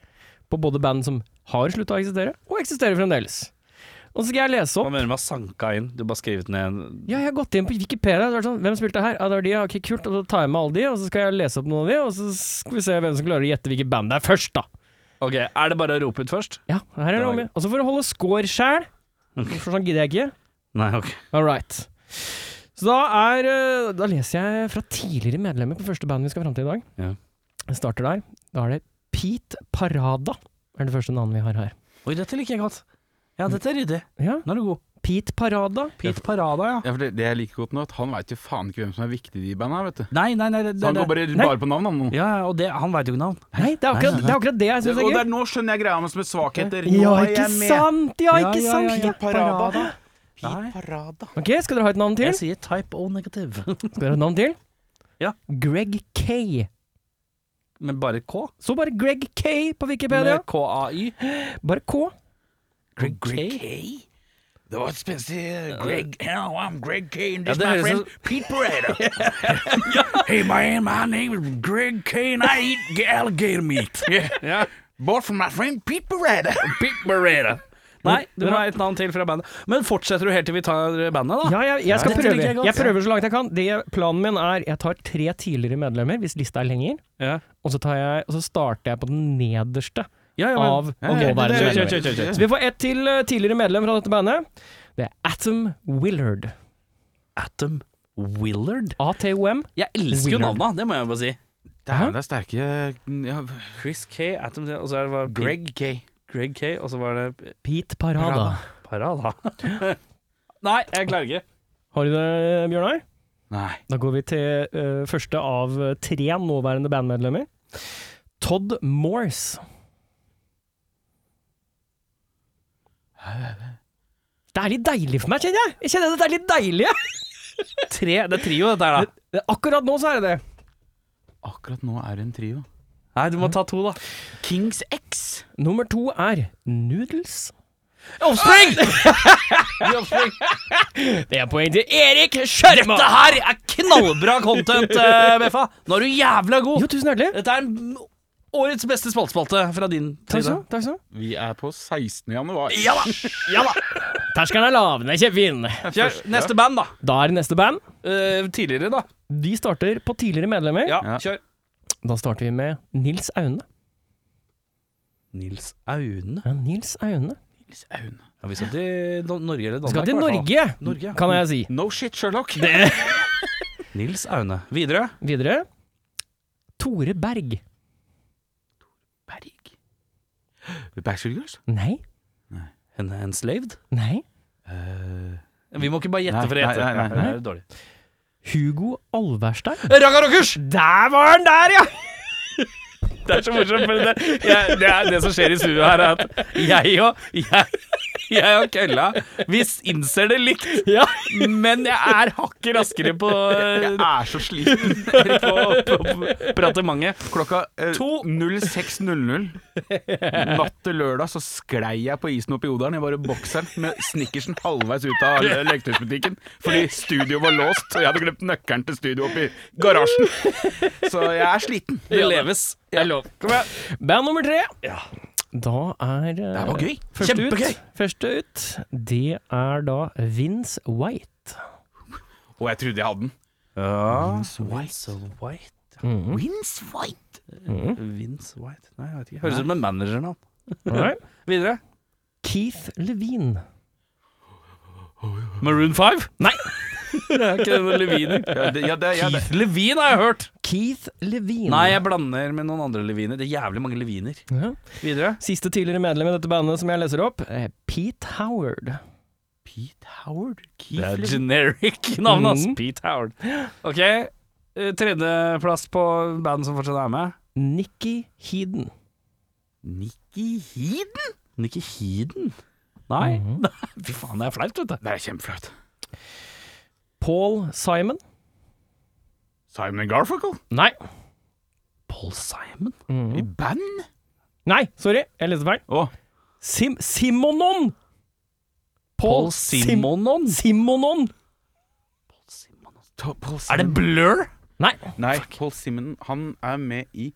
Speaker 3: På både band som har slutta å eksistere, og eksisterer fremdeles. Og så skal jeg lese
Speaker 2: Hva
Speaker 3: opp
Speaker 2: mener du med sanka inn? Du har bare skrevet ned en-
Speaker 3: Ja, jeg har gått inn på Wikipedia. Det er sånn, hvem spilte her? Ja, det var de. ja, Ok, kult. Og så tar jeg med alle de, og så skal jeg lese opp noen av de, og så skal vi se hvem som klarer å gjette hvilket band det er først, da.
Speaker 2: Ok, er det bare å rope ut først?
Speaker 3: Ja, her er det
Speaker 2: Det var
Speaker 3: om. Og så for å holde score sjæl, for sånn gidder jeg ikke.
Speaker 2: Nei, ok.
Speaker 3: All right. Så da er eh, Da leser jeg fra tidligere medlemmer på første band vi skal fram til i dag.
Speaker 2: Ja.
Speaker 3: Jeg starter der. Da er det Pete Parada. Er det første navnet vi har her.
Speaker 2: Oi, dette liker jeg godt. Ja, dette er ryddig.
Speaker 3: Ja,
Speaker 2: Nå er du god.
Speaker 3: Pete Parada.
Speaker 2: Pete Parada, ja.
Speaker 1: Ja, for det, det jeg liker godt nå, at han veit jo faen ikke hvem som er viktig i de banda, vet du.
Speaker 2: Nei, nei, nei. Det,
Speaker 1: Så han
Speaker 2: det,
Speaker 1: går bare,
Speaker 3: Nei.
Speaker 1: bare på navn, han nå.
Speaker 2: ja, ja, og det, han veit jo ikke navn.
Speaker 3: Nei, det er akkurat det, er akkurat det jeg
Speaker 1: Det,
Speaker 3: syns
Speaker 1: og
Speaker 3: er
Speaker 1: der,
Speaker 3: gøy.
Speaker 1: nå skjønner jeg greia hans med svakheter. Nå
Speaker 3: Ja,
Speaker 1: er
Speaker 3: ikke
Speaker 1: jeg med.
Speaker 3: sant! Ja,
Speaker 2: ja,
Speaker 3: ikke
Speaker 2: ja,
Speaker 3: sant!
Speaker 2: ja.
Speaker 3: Pete Parada.
Speaker 2: Nei.
Speaker 3: Ok, skal dere ha et navn til?
Speaker 2: Jeg sier type O negativ.
Speaker 3: Skal dere ha et navn til?
Speaker 2: Ja.
Speaker 3: Greg K.
Speaker 2: Men bare K?
Speaker 3: Så bare Greg K på Wikipedia.
Speaker 2: Med KAY?
Speaker 3: Bare K.
Speaker 2: Greg K?
Speaker 1: Det var spenstig. Greg Hello, I'm Greg K, and
Speaker 2: Ja,
Speaker 1: this
Speaker 2: det
Speaker 1: my
Speaker 2: høres
Speaker 1: friend Pete Parada. hey man, my name is Greg K, and I eat alligator meat. Yeah. Bought from my friend Pete Parada.
Speaker 2: Big Beretta. Nei, du må ha et navn til fra bandet. Men fortsetter du helt til vi tar bandet, da?
Speaker 3: Ja, jeg, jeg skal
Speaker 2: Ja, det
Speaker 3: prøve.
Speaker 2: liker jeg
Speaker 3: Jeg,
Speaker 2: godt.
Speaker 3: prøver så langt jeg kan. Det, planen min er jeg tar tre tidligere medlemmer, hvis lista er lenger,
Speaker 2: Ja,
Speaker 3: og så, tar jeg, og så starter jeg på den nederste
Speaker 2: ja, ja
Speaker 3: av
Speaker 2: men.
Speaker 3: og nåværende
Speaker 2: Kjør,
Speaker 3: medlemmer.
Speaker 2: kjør, kjør, kjør.
Speaker 3: Så vi får ett til eh, tidligere medlem fra dette bandet. Det er Atom Willard.
Speaker 2: Atom Willard?
Speaker 3: ATOM.
Speaker 2: Jeg elsker jo
Speaker 3: Willard.
Speaker 2: navnet, det må jeg bare si.
Speaker 3: Hæ?
Speaker 1: Dæven, det er sterke ja,
Speaker 2: Chris K, Atom og så er det bare Greg,
Speaker 1: Greg K.
Speaker 2: Greg K, og så var det
Speaker 3: Pete Parada.
Speaker 2: Parada. Nei, jeg klarer ikke.
Speaker 3: Har du det, Bjørnar?
Speaker 1: Nei.
Speaker 3: Da går vi til eh, første av eh, tre nåværende bandmedlemmer. Todd Morse. Det er litt deilig for meg, kjenner jeg. Jeg kjenner at det er litt deilig. jeg.
Speaker 2: Tre, det er trio, dette her, da.
Speaker 3: Det- Akkurat nå så er det det.
Speaker 1: Akkurat nå er det en trio.
Speaker 2: Nei, du må ta to, da.
Speaker 1: Kings X.
Speaker 3: Nummer to er Noodles.
Speaker 2: Offspring!
Speaker 3: Det er poeng til Erik Skjørma!
Speaker 2: Dette her er knallbra content, eh, Beffa. Nå er du jævla god.
Speaker 3: Jo, tusen hjertelig.
Speaker 2: Dette er en- årets beste spaltespalte fra din
Speaker 3: Takk
Speaker 2: side.
Speaker 3: skal du ha.
Speaker 1: Vi er på 16. januar.
Speaker 2: Ja da. Ja da.
Speaker 3: Terskelen er lav, den er kjempefin.
Speaker 2: Kjør. Neste band, da.
Speaker 3: Da er det neste band.
Speaker 2: Eh, tidligere, da.
Speaker 3: De starter på tidligere medlemmer.
Speaker 2: Ja,
Speaker 1: Ja.
Speaker 2: kjør.
Speaker 3: Da starter vi med Nils Aune.
Speaker 2: Nils Aune.
Speaker 3: Ja, Nils Aune.
Speaker 1: Nils Aune.
Speaker 2: Ja, vi skal til No- Norge eller Danmark.
Speaker 3: Skal til
Speaker 2: i hvert fall.
Speaker 3: Norge,
Speaker 2: Norge, ja.
Speaker 3: kan jeg si.
Speaker 1: No shit, Sherlock.
Speaker 2: Nils Aune. Videre.
Speaker 3: Videre. Tore Berg.
Speaker 1: Berg. Backstreet Girls?
Speaker 3: Nei.
Speaker 2: En enslaved.
Speaker 3: Nei.
Speaker 2: Vi må ikke bare gjette
Speaker 1: Nei,
Speaker 2: for å gjette.
Speaker 1: nei, nei, nei.
Speaker 2: Det er dårlig.
Speaker 3: Hugo Alverstein.
Speaker 2: Raga Rockers!
Speaker 3: Der var han der, ja!
Speaker 2: Det er så morsomt, for det, jeg, det, er, det som skjer i studio her, er at jeg og, jeg, jeg og kølla Vi innser det likt,
Speaker 3: Ja.
Speaker 2: men jeg er hakket raskere på,
Speaker 1: Jeg er så sliten.
Speaker 2: på, på pratementet.
Speaker 1: Klokka eh,
Speaker 2: To.
Speaker 1: 06.00 natt til lørdag så sklei jeg på isen oppe i Odalen. Jeg var i bokseren med snickersen halvveis ut av leketøysbutikken fordi studio var låst, og jeg hadde glemt nøkkelen til studio oppi garasjen. Så jeg er sliten.
Speaker 2: Det leves. Det er lov. Kom igjen.
Speaker 3: Band nummer tre. Da er Det
Speaker 1: var gøy.
Speaker 3: Første
Speaker 2: Kjempegøy.
Speaker 3: Ut, første ut, det er da Vince White.
Speaker 1: Og jeg trodde jeg hadde den.
Speaker 2: Vince White.
Speaker 1: Wins fight.
Speaker 3: Mhm.
Speaker 2: Vince White. Nei, jeg vet ikke. Høres ut som en managernavn.
Speaker 3: Nei.
Speaker 2: Videre.
Speaker 3: Keith Levine.
Speaker 2: Maroon 5? Nei! det er ikke denne Levine.
Speaker 1: Ja, det, ja, det, ja, det.
Speaker 2: Keith Levine har jeg hørt!
Speaker 3: Keith Levine.
Speaker 2: Nei, jeg blander med noen andre leviner. Det er jævlig mange leviner.
Speaker 3: Ja.
Speaker 2: Videre.
Speaker 3: Siste tidligere medlem i dette bandet som jeg leser opp, er Pete Howard.
Speaker 1: Pete Howard?
Speaker 2: Det er
Speaker 1: Keith
Speaker 2: generic navn, ass.
Speaker 3: Mm.
Speaker 2: Pete Howard. Ok, eh, tredjeplass på band som fortsatt er med.
Speaker 3: Nikki Heeden.
Speaker 1: Nikki Heeden?
Speaker 2: Nikki Heeden? Nei. Fy faen, det er flaut, vet du.
Speaker 1: Det er kjempeflaut.
Speaker 3: Paul Simon.
Speaker 1: Simon Garfunkel?
Speaker 3: Nei.
Speaker 2: Paul Simon?
Speaker 1: I band?
Speaker 3: Nei, sorry, jeg leste feil.
Speaker 1: Å,
Speaker 3: Sim Simonon!
Speaker 2: Paul
Speaker 3: Sim-
Speaker 2: Simonon?
Speaker 3: Simonon!
Speaker 1: ta- Paul
Speaker 2: Er det
Speaker 1: Simon.
Speaker 2: Blur?
Speaker 3: Nei,
Speaker 1: Nei, Paul Simon han er med i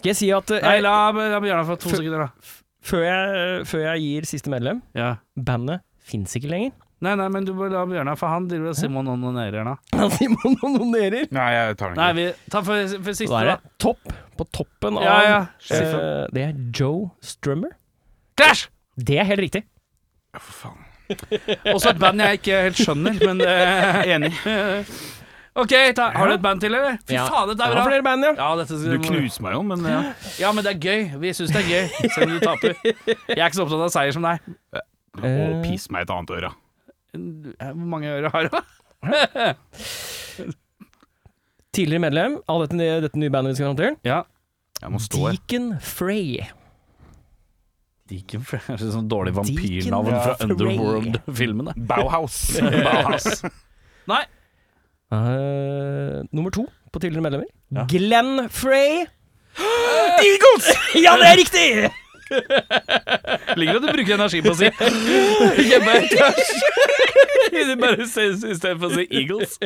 Speaker 3: skal jeg si at eh,
Speaker 2: Nei,
Speaker 3: jeg,
Speaker 2: la, la Bjørnar få to
Speaker 3: Før-
Speaker 2: sekunder, da.
Speaker 3: før, jeg, eh, før jeg gir siste medlem
Speaker 2: Ja.
Speaker 3: Bandet fins ikke lenger.
Speaker 2: Nei, nei, men du må la Bjørnar, for han driver og Simonon og nerer nå.
Speaker 3: Simonon onerer.
Speaker 1: Nei, jeg tar den
Speaker 2: Nei,
Speaker 1: ikke.
Speaker 2: vi, ta for, for siste,
Speaker 3: Da er
Speaker 2: da.
Speaker 3: det topp på toppen av
Speaker 2: Ja, ja.
Speaker 3: eh, Det er Joe Strummer.
Speaker 2: Clash!
Speaker 3: Det er helt riktig.
Speaker 1: Ja, for faen.
Speaker 2: Også et band jeg ikke helt skjønner, men eh,
Speaker 1: Enig.
Speaker 2: OK, ta, har du et band til, eller? Fy
Speaker 3: Ja.
Speaker 2: faen, dette
Speaker 3: Det
Speaker 2: er
Speaker 3: var
Speaker 2: bra!
Speaker 3: flere band, ja.
Speaker 2: Ja, dette
Speaker 1: Du knuser meg jo, men ja.
Speaker 2: ja, men det er gøy. Vi syns det er gøy, selv om du taper. Jeg er ikke så opptatt av seier som deg.
Speaker 1: Og pis meg i et annet øre.
Speaker 2: Eh, Hvor mange øre har du?
Speaker 3: Tidligere medlem av dette, nye- dette nye bandet vi skal fram til.
Speaker 2: Ja.
Speaker 1: Jeg må stå her.
Speaker 3: Deacon Frey.
Speaker 2: Deacon Frey. Det er sånn dårlig
Speaker 3: Deacon
Speaker 2: vampyrnavn fra
Speaker 3: Frey.
Speaker 2: Underworld-filmene.
Speaker 1: Bauhaus.
Speaker 2: Bauhaus. Nei.
Speaker 3: Eh, nummer to på tidligere medlemmer.
Speaker 2: Ja.
Speaker 3: Glenn Frey.
Speaker 1: Eagles!
Speaker 3: Ja, det er riktig!
Speaker 2: Ligger det at du bruker energi på å si Ikke bare Clash. Du bare sier istedenfor å si Eagles.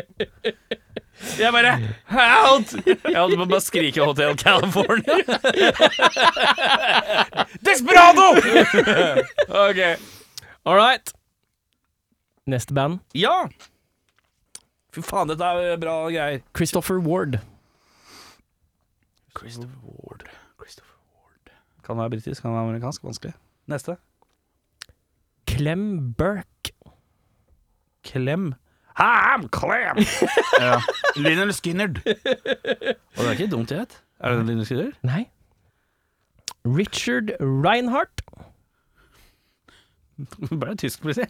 Speaker 2: Jeg bare Out! Jeg holdt på å bare skrike Hotel California.
Speaker 1: Desperado!
Speaker 2: Ok.
Speaker 3: All right. Neste band.
Speaker 2: Ja. Fy faen, dette er bra greier.
Speaker 3: Christopher Ward.
Speaker 1: Christopher Ward. Christopher Ward.
Speaker 2: Kan være britisk, kan være amerikansk. Vanskelig. Neste.
Speaker 3: Clem Burke.
Speaker 2: Klem. Ham Klem!
Speaker 1: Ja. Lionel Skinnerd.
Speaker 2: Og det er ikke dumt, jeg vet. Er det en liten skriver?
Speaker 3: Nei. Richard Reinhardt.
Speaker 2: Bare tysk politi.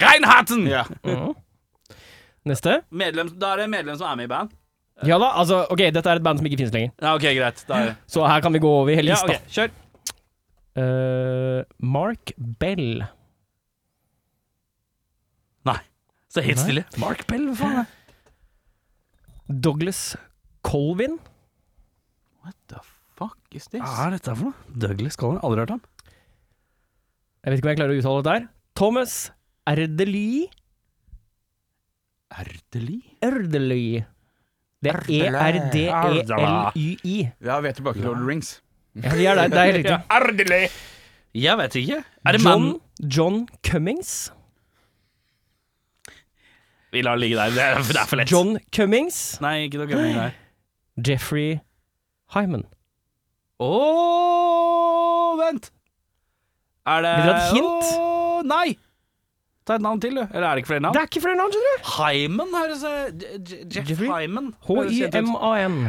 Speaker 2: Reinharten!
Speaker 1: Ja.
Speaker 3: Mhm. Neste.
Speaker 2: Medlem, da er det medlem som er med i band.
Speaker 3: Ja da, altså, ok, dette er et band som ikke finnes lenger.
Speaker 2: Ja, ok, greit. Da er det.
Speaker 3: Så her kan vi gå over hele
Speaker 2: Ja,
Speaker 3: lista.
Speaker 2: ok, kjør.
Speaker 3: Eh, Mark Bell.
Speaker 2: Så helt
Speaker 3: Nei.
Speaker 2: stille. Mark Bell, hva faen? er det?
Speaker 3: Douglas Colvin.
Speaker 1: What the fuck is this?
Speaker 2: Hva er dette for noe? Douglas Collin, aldri hørt ham.
Speaker 3: Jeg vet ikke om jeg klarer å uttale dette her. Thomas Erdely.
Speaker 1: Erdeli?
Speaker 3: Erdely. Det E er
Speaker 1: Erdely.
Speaker 3: E-R-D-E-L-Y-I.
Speaker 1: Ja, vi er tilbake til Lord of the Rings.
Speaker 3: Ja, de er der. Det er helt riktig.
Speaker 1: Erdeli!
Speaker 2: Jeg vet ikke. Er det
Speaker 3: John,
Speaker 2: mannen?
Speaker 3: John Cummings.
Speaker 2: Vi lar det ligge der, det er, det er for lett.
Speaker 3: John Cummings.
Speaker 2: Nei, ikke noe gøy der.
Speaker 3: Jeffrey Hyman.
Speaker 2: Ååå, vent. Er det
Speaker 3: Vil dere ha et hint?
Speaker 2: Åh, nei! Ta et navn til, du. Eller er det ikke flere navn?
Speaker 3: Det er ikke flere navn, skjønner du!
Speaker 2: Hyman høres eh, Je- Jeff
Speaker 3: Jeffrey?
Speaker 2: Hyman. høres kjent ut.
Speaker 3: H-Y-M-A-N.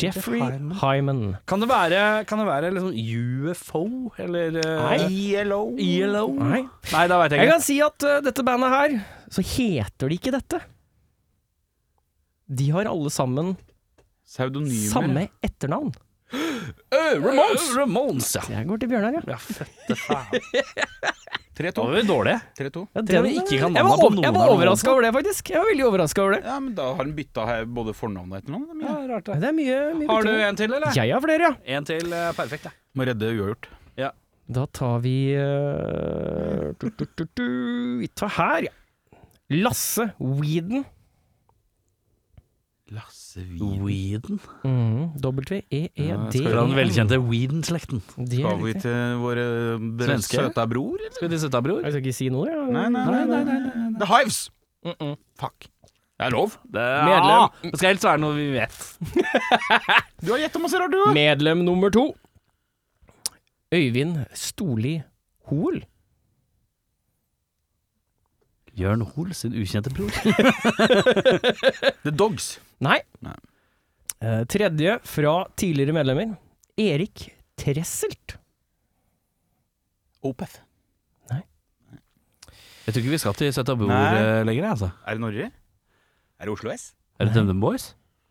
Speaker 3: Jeffrey
Speaker 2: Hyman.
Speaker 3: Hyman.
Speaker 2: Kan det være, kan det være liksom UFO, eller eh,
Speaker 3: Nei.
Speaker 1: ILO.
Speaker 2: ELO?
Speaker 3: Nei.
Speaker 2: Nei, da veit jeg
Speaker 3: Jeg
Speaker 2: ikke.
Speaker 3: kan si at eh, dette bandet her, så heter de ikke dette. De har alle sammen
Speaker 1: Pseudonymer.
Speaker 3: samme etternavn.
Speaker 2: Ramones! Ramones, ja.
Speaker 3: Jeg går til Bjørnar, ja.
Speaker 2: Ja, fette faen.
Speaker 1: 3-2.
Speaker 2: Da var vi dårlige.
Speaker 1: 3-2.
Speaker 3: ja
Speaker 2: Til og med
Speaker 3: den-
Speaker 2: ikke kan
Speaker 3: jeg
Speaker 2: navnet
Speaker 3: var,
Speaker 2: på
Speaker 3: over-
Speaker 2: noen
Speaker 3: jeg
Speaker 2: av
Speaker 3: var
Speaker 2: dem altså.
Speaker 3: overraska over det, faktisk. Jeg var veldig overraska over det.
Speaker 1: Ja, men da har han bytta her både fornavn og etternavn. det er mye.
Speaker 2: Ja, rart det.
Speaker 3: Det er mye, mye
Speaker 2: Har du
Speaker 3: betydning.
Speaker 2: en til, eller?
Speaker 3: Jeg har flere, ja.
Speaker 2: En til, eh, perfekt. Ja.
Speaker 1: Må redde uavgjort.
Speaker 3: Da tar vi eh, tu, tu, tu, tu. Vi tar her, ja. Lasse Weeden.
Speaker 1: Lasse
Speaker 2: Weeden.
Speaker 3: W-E-E-D.
Speaker 1: Ja, skal vi ha den
Speaker 2: Weeden-slekten.
Speaker 1: Skal vi til våre dere
Speaker 2: Svenske?
Speaker 1: søta bror, eller?
Speaker 2: Skal vi til søta bror?
Speaker 3: Jeg skal ikke si noe, jeg.
Speaker 1: Nei nei nei, nei, nei, nei. The Hives! Fuck. Det er lov.
Speaker 2: Det,
Speaker 3: Medlem.
Speaker 2: Ja, det skal helst være noe vi vet.
Speaker 1: Du har gjetta masse rart, du.
Speaker 3: Medlem nummer to. Øyvind Storli Hoel.
Speaker 1: Jørn Hoel sin ukjente bror. The Dogs.
Speaker 3: Nei.
Speaker 1: Nei.
Speaker 3: Eh, tredje fra tidligere medlemmer. Erik Tresselt.
Speaker 1: Opeth.
Speaker 2: Jeg tror ikke vi skal til Setabor
Speaker 1: Nei.
Speaker 2: eh, lenger, jeg, altså.
Speaker 1: Er det Norge? Er det Oslo S?
Speaker 2: Er det DumDum Boys?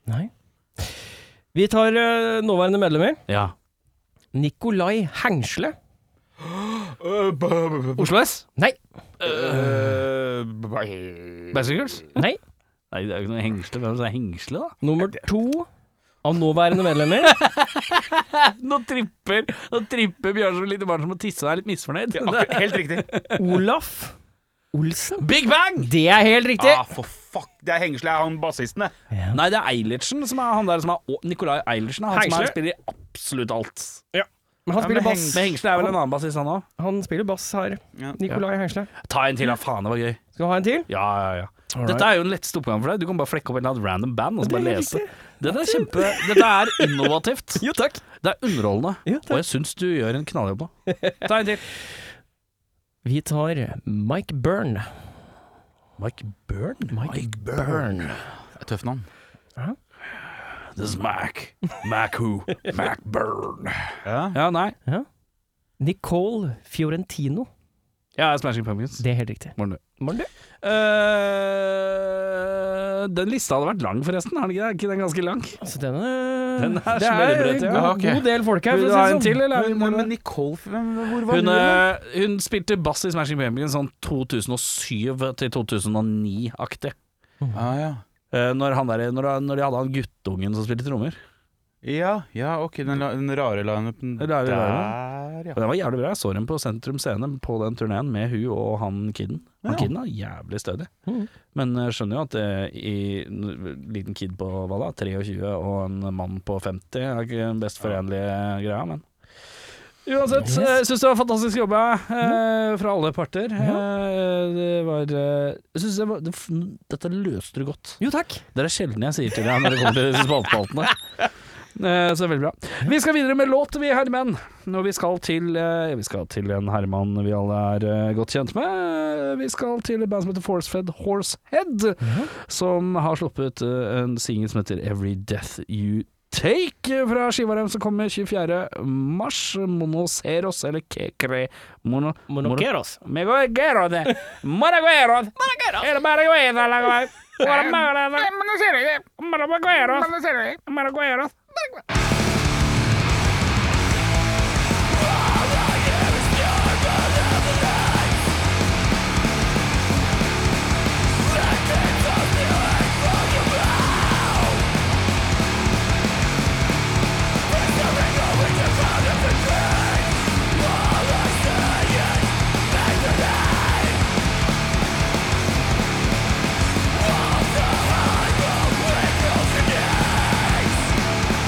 Speaker 3: Nei. Vi tar eh, nåværende medlemmer.
Speaker 2: Ja.
Speaker 3: Nikolai Hengsle.
Speaker 2: Oslo S?
Speaker 3: Nei.
Speaker 2: Basic Girls?
Speaker 3: Nei.
Speaker 1: Nei, det er jo ikke noe hengsle. Hvem er det som er hengsle, da?
Speaker 3: Nummer to av nåværende medlemmer.
Speaker 2: Nå tripper, nå tripper Bjørn som et lite barn som har tissa og er litt misfornøyd.
Speaker 1: Helt riktig.
Speaker 3: Olaf Olsen.
Speaker 2: Big Bang!
Speaker 3: Det er helt riktig.
Speaker 1: Ah, for fuck. Det er hengsle, er han bassisten, det.
Speaker 2: Nei, det er Eilertsen som er han der som er å- Nikolai Eilertsen. er Han som
Speaker 3: Hengsle.
Speaker 2: er, spiller i absolutt alt.
Speaker 3: Men han
Speaker 1: Ja,
Speaker 3: spiller
Speaker 1: men
Speaker 3: bass.
Speaker 2: Men Hengsle er vel en annen bassist, han òg.
Speaker 3: Han spiller bass her.
Speaker 1: Ja.
Speaker 3: Nikolai Hengsle.
Speaker 2: Ta en til, da. Faen, det var gøy.
Speaker 3: Skal du ha en til?
Speaker 2: Ja, ja, ja. Dette er jo den letteste oppgaven for deg. Du kan bare flekke opp en eller annen random band og så
Speaker 3: Det er
Speaker 2: bare
Speaker 3: helt
Speaker 2: lese.
Speaker 3: riktig.
Speaker 2: Dette er kjempe Dette er innovativt.
Speaker 3: Jo, takk.
Speaker 2: Det er underholdende.
Speaker 3: Ja, takk.
Speaker 2: og jeg syns du gjør en knalljobb nå. Ta en til.
Speaker 3: Vi tar Mike Byrne.
Speaker 2: Mike Byrne? Mike,
Speaker 1: Det er Tøft navn.
Speaker 2: This is Mac. Mac who? Mac Byrne.
Speaker 1: Ja.
Speaker 2: Ja, nei.
Speaker 3: Nicole Fiorentino.
Speaker 2: Jeg er Smashing Pumpkins. Eh,
Speaker 3: Det er helt riktig.
Speaker 2: Morn, du.
Speaker 3: Morn, du.
Speaker 2: Eh, den lista hadde vært lang, forresten. Er den ikke det? Er ikke den ganske lang?
Speaker 3: Altså, den er,
Speaker 2: Den er
Speaker 3: det er
Speaker 2: smørbrød,
Speaker 3: en
Speaker 2: ja.
Speaker 3: god,
Speaker 1: Ja, ok.
Speaker 3: god del folk her,
Speaker 2: Vil
Speaker 3: for
Speaker 2: du ha
Speaker 3: å si
Speaker 2: en
Speaker 3: det
Speaker 2: til,
Speaker 3: sånn.
Speaker 2: eller? er vi-
Speaker 1: Men, men Nicole hvem- Hvor var
Speaker 2: Hun,
Speaker 1: hun? da?
Speaker 2: eh, hun spilte bass i Smashing Pumpkins sånn 2007 til 2009-aktig.
Speaker 1: Ah, ja.
Speaker 2: Eh, når, han der, når, når de hadde han guttungen som spilte trommer.
Speaker 1: ja, ja, ok. Den, la, den rare lineupen
Speaker 2: Den rare
Speaker 1: der, ja.
Speaker 2: Og Den var jævlig bra. Jeg så dem på Sentrum Scene på den turneen med hun og han kiden. Han
Speaker 1: Ja. Mm.
Speaker 2: kiden er jævlig stødig.
Speaker 3: Mhm.
Speaker 2: Men jeg skjønner jo at det, i, en liten kid på hva da, 23 og en mann på 50 er ikke den best forenlige greia, men Uansett,
Speaker 3: Yes.
Speaker 2: jeg syns det var fantastisk jobba
Speaker 1: Mm.
Speaker 2: eh, fra alle parter. Eh, det var eh, Jeg synes det var det, f- Dette løste du godt.
Speaker 3: Jo, takk.
Speaker 2: Det er sjelden jeg sier til deg når det kommer til spaltespaltene. Eh, Så det er veldig bra. Vi skal videre med låt, vi herremenn. Og vi skal til eh, Vi skal til en herremann vi alle er eh, godt kjent med. Eh, Vi skal til et band som heter Forcefed Horsehead, som har sluppet eh, en singel som heter Every Death You Take, eh, fra skiva deres som kommer 24. mars. Monoseros, eller Kekre Mono...
Speaker 3: Monokeros.
Speaker 2: Megoegero de Maragueros. El Maragueros. la- Mara- Mara- Maragueros. Maragueros.
Speaker 4: Every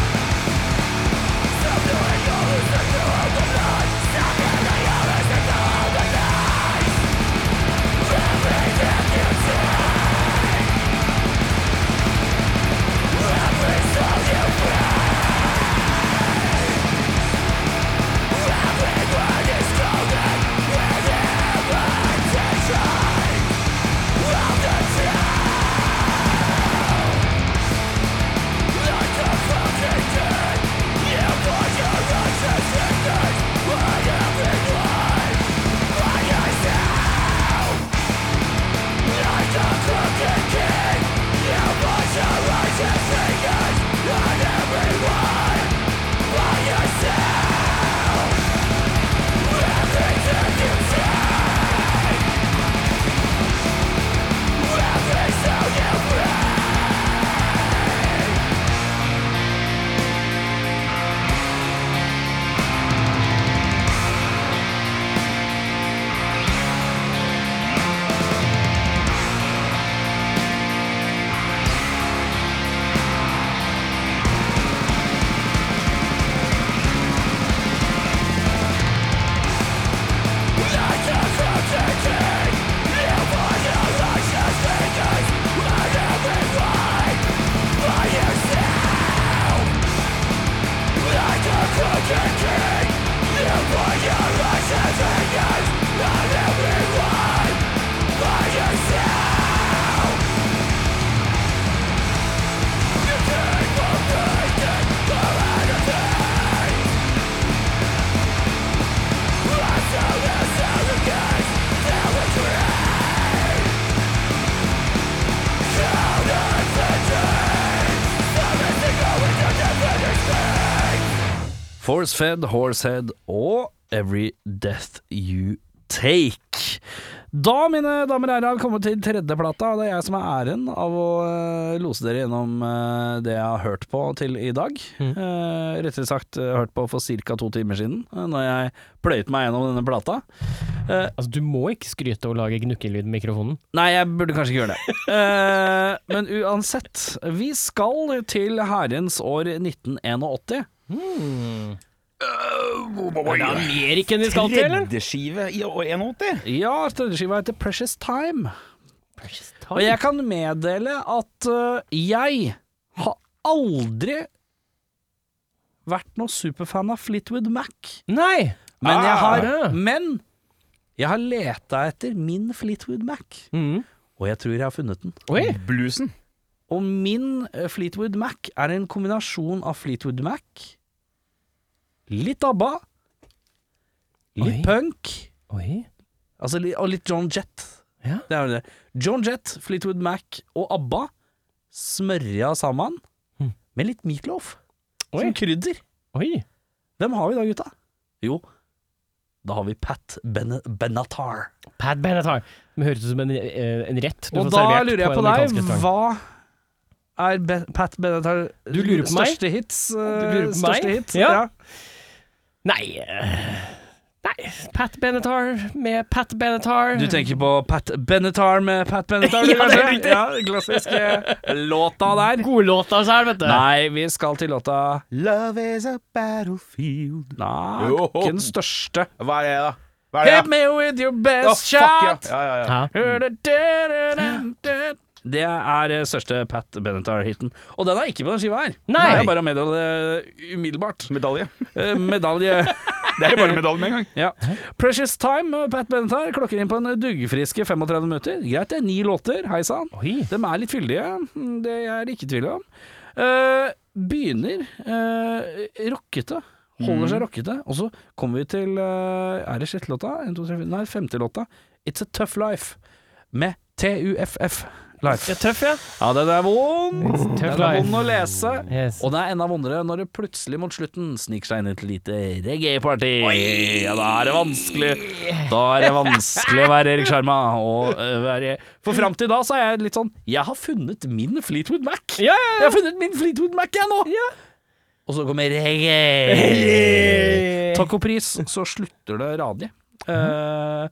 Speaker 2: Force-fed, Horsehead og Every Death You Take. Da, mine damer og herrer, har vi kommet til tredjeplata. og Det er jeg som har æren av å eh, lose dere gjennom eh, det jeg har hørt på til i dag.
Speaker 3: Mhm.
Speaker 2: Eh, rettere sagt eh, hørt på for ca. to timer siden, eh, når jeg pløyet meg gjennom denne plata. Eh,
Speaker 3: Altså, du må ikke skryte og lage gnukkelyd med mikrofonen.
Speaker 2: Nei, jeg burde kanskje ikke gjøre det. Eh, men uansett, vi skal til herrens år 1981.
Speaker 3: Er det Ameriken vi skal til, eller?
Speaker 1: Tredjeskive i år 81?
Speaker 2: Ja, tredjeskiva heter Precious Time. Og
Speaker 3: Oi,
Speaker 2: jeg kan meddele at øh, jeg har aldri vært noen superfan av Fleetwood Mac.
Speaker 3: Nei!
Speaker 2: Men jeg har,
Speaker 3: Ah.
Speaker 2: men jeg har leta etter min Fleetwood Mac,
Speaker 3: Mm.
Speaker 2: og jeg tror jeg har funnet den.
Speaker 3: Oi!
Speaker 1: Bluesen.
Speaker 2: Og min eh, Fleetwood Mac er en kombinasjon av Fleetwood Mac, litt ABBA, litt
Speaker 3: Oi.
Speaker 2: punk
Speaker 3: Oi.
Speaker 2: altså, li- og litt John Jett.
Speaker 3: Ja.
Speaker 2: Det er jo det. John Jett, Fleetwood Mac og ABBA smørja sammen
Speaker 3: Mm.
Speaker 2: med litt meatloaf
Speaker 3: Oi.
Speaker 2: som krydder.
Speaker 3: Oi.
Speaker 2: Hvem har vi da, gutta? Jo, da har vi Pat ben Benatar.
Speaker 3: Pat Benatar. Det høres ut som en, eh, en rett du
Speaker 2: Og
Speaker 3: får
Speaker 2: da
Speaker 3: servert
Speaker 2: lurer jeg
Speaker 3: en
Speaker 2: på
Speaker 3: amerikansk
Speaker 2: deg,
Speaker 3: restaurant.
Speaker 2: hva er Be Pat Benatar
Speaker 3: Du lurer på meg?
Speaker 2: største hits? eh,
Speaker 3: Du lurer på meg?
Speaker 2: største hits?
Speaker 3: Ja. Nei eh, Nei, Pat Benatar med Pat Benatar.
Speaker 2: Du tenker på Pat Benatar med Pat Benatar?
Speaker 3: Ja, det er
Speaker 2: kanskje?
Speaker 3: riktig.
Speaker 2: Ja, den klassiske låta der.
Speaker 3: Gode låta sjøl, vet du.
Speaker 2: Nei, vi skal til låta
Speaker 1: Love is a battlefield
Speaker 2: Nei,
Speaker 1: Jo.
Speaker 2: ikke den største.
Speaker 1: Hva er det, da? Hva er det,
Speaker 2: Hit me with your best
Speaker 1: da? Å,
Speaker 2: shot!
Speaker 1: Ja, ja, ja. ja.
Speaker 3: Hæ?
Speaker 2: Det er eh, største Pat Benatar-hiten. Og den er ikke på den skiva her.
Speaker 3: Nei.
Speaker 2: Det er bare å meddele det umiddelbart.
Speaker 1: Medalje.
Speaker 2: Eh, Medalje
Speaker 1: Det er bare medalje med en gang.
Speaker 2: ja. Precious Time, med Pat Benatar. Klokker inn på en duggfriske 35 minutter. Greit, det er ni låter. Hei sann.
Speaker 3: Oi.
Speaker 2: De er litt fyldige, Mm, det er det ikke tvil om. Eh, begynner eh, rockete. Holder
Speaker 3: Mm.
Speaker 2: seg rockete. Og så kommer vi til eh, Er det sjette låta? En, to, tre, fire. Nei, femte låta. It's a tough life. Med TUFF. Life.
Speaker 3: Ja, tøff, ja.
Speaker 2: Ja, den er vond! Mm.
Speaker 3: Tough
Speaker 2: Den er
Speaker 3: life.
Speaker 2: vond å lese.
Speaker 3: Yes.
Speaker 2: Og det er enda vondere når det plutselig mot slutten sniker seg inn et lite reggae-party. Ja, da er det vanskelig Da er det vanskelig å være Erik Sjarma. Og øh, være For fram til da så er jeg litt sånn Jeg har funnet min Fleetwood Mac.
Speaker 3: Ja, ja,
Speaker 2: Jeg har funnet min Fleetwood Mac, jeg nå! Og så kommer reggae.
Speaker 3: ja.
Speaker 2: Takk og pris, så slutter det radig. Eh,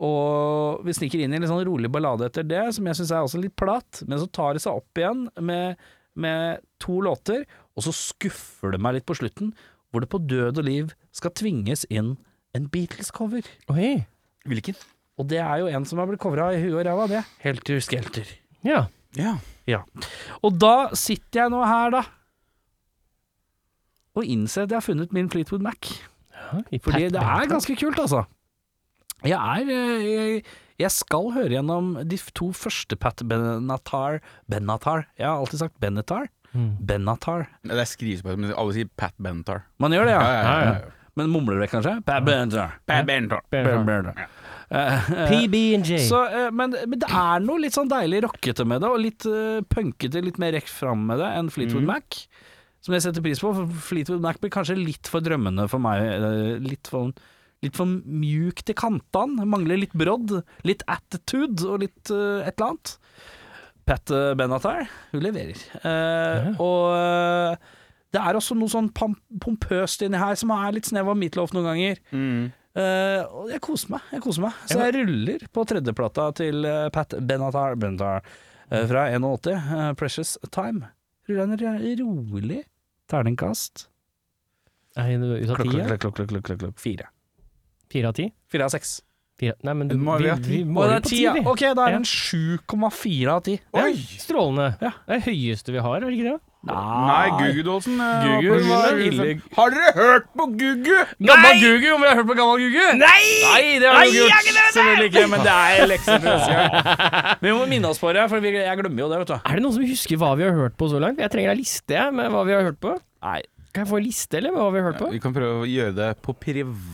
Speaker 2: og vi sniker inn i en litt sånn rolig ballade etter det, som jeg syns er også litt platt, men så tar det seg opp igjen med, med to låter, og så skuffer det meg litt på slutten, hvor det på død og liv skal tvinges inn en Beatles-cover.
Speaker 3: Oi.
Speaker 1: Hvilken?
Speaker 2: Og det er jo en som har blitt covra i huet og ræva, det. Helter Skelter.
Speaker 3: Ja.
Speaker 1: Ja.
Speaker 2: Ja. Og da sitter jeg nå her, da, og innser at jeg har funnet min Fleetwood Mac.
Speaker 3: Ja, i
Speaker 2: Fordi
Speaker 3: Pat
Speaker 2: det
Speaker 3: Benatar.
Speaker 2: er ganske kult, altså. Jeg er eh, jeg, jeg skal høre gjennom de f- to første Pat Benatar Benatar. Jeg har alltid sagt Benatar.
Speaker 3: Mm.
Speaker 2: Benatar.
Speaker 1: Det skrives på, men alle sier Pat Benatar.
Speaker 2: Man gjør det, ja.
Speaker 3: ja,
Speaker 2: Men mumler det kanskje? Pat Benatar.
Speaker 1: Pat Benatar.
Speaker 2: Benatar.
Speaker 3: Benatar.
Speaker 2: Benatar. Eh, eh,
Speaker 3: PB&J.
Speaker 2: Så, eh, men, men det er noe litt sånn deilig rockete med det, og litt eh, punkete, litt mer rett fram med det enn Fleetwood Mac. Som jeg setter pris på, for Fleetwood Mac blir kanskje litt for drømmende for meg. eh, Litt for, litt for mjukt i kantene. Mangler litt brodd, litt attitude og litt eh, et eller annet. Pat eh, Benatar, hun leverer. Eh, Og eh, det er også noe sånn pam- pompøst inni her som er litt snev av meatloaf noen ganger.
Speaker 1: Mm.
Speaker 2: Eh, og jeg koser meg. jeg koser meg Så jeg ruller på tredjeplata til eh, Pat Benatar, Benatar eh, fra 81, eh, 'Precious Time'. Ruller en ro- rolig terningkast.
Speaker 3: Er det noe ut av
Speaker 2: Klokk,
Speaker 3: ti?
Speaker 2: klokk,
Speaker 3: ja?
Speaker 2: klokk, klokk, klokk, klokk, klokk. Fire.
Speaker 3: Fire av ti?
Speaker 2: Fire av seks.
Speaker 3: Fire. Nei, men du,
Speaker 1: Må vi
Speaker 3: vi,
Speaker 1: ha ti?
Speaker 3: vi
Speaker 2: Å,
Speaker 3: måler
Speaker 2: det er
Speaker 3: på
Speaker 2: ti,
Speaker 3: ti,
Speaker 2: ja.
Speaker 3: vi.
Speaker 2: Ok, da
Speaker 3: Ja.
Speaker 2: er den 7,4 av 10.
Speaker 1: Oi!
Speaker 3: Strålende.
Speaker 2: Ja.
Speaker 3: Det er det høyeste vi har, er det ikke det?
Speaker 1: Nei, Gugu Dolsen. eh,
Speaker 2: Gugu
Speaker 1: var på
Speaker 2: var liksom-
Speaker 1: sju,
Speaker 2: ille.
Speaker 1: fem. Har dere hørt på Gugu?
Speaker 2: Gammal Gugu, om vi har hørt på Gammal Gugu? Nei! det har
Speaker 1: Nei,
Speaker 2: vi
Speaker 1: jeg
Speaker 2: ikke
Speaker 1: har
Speaker 2: gjort. Selvfølgelig ikke, men det er lekser til neste gang. Vi må minne oss på det, for vi- jeg glemmer jo det, vet du.
Speaker 3: Er det noen som husker hva vi har hørt på så langt? Jeg trenger ei liste jeg, med hva vi har hørt på.
Speaker 2: Nei.
Speaker 3: Kan jeg få ei liste, eller, med hva vi har hørt på?
Speaker 1: Vi kan prøve å gjøre det på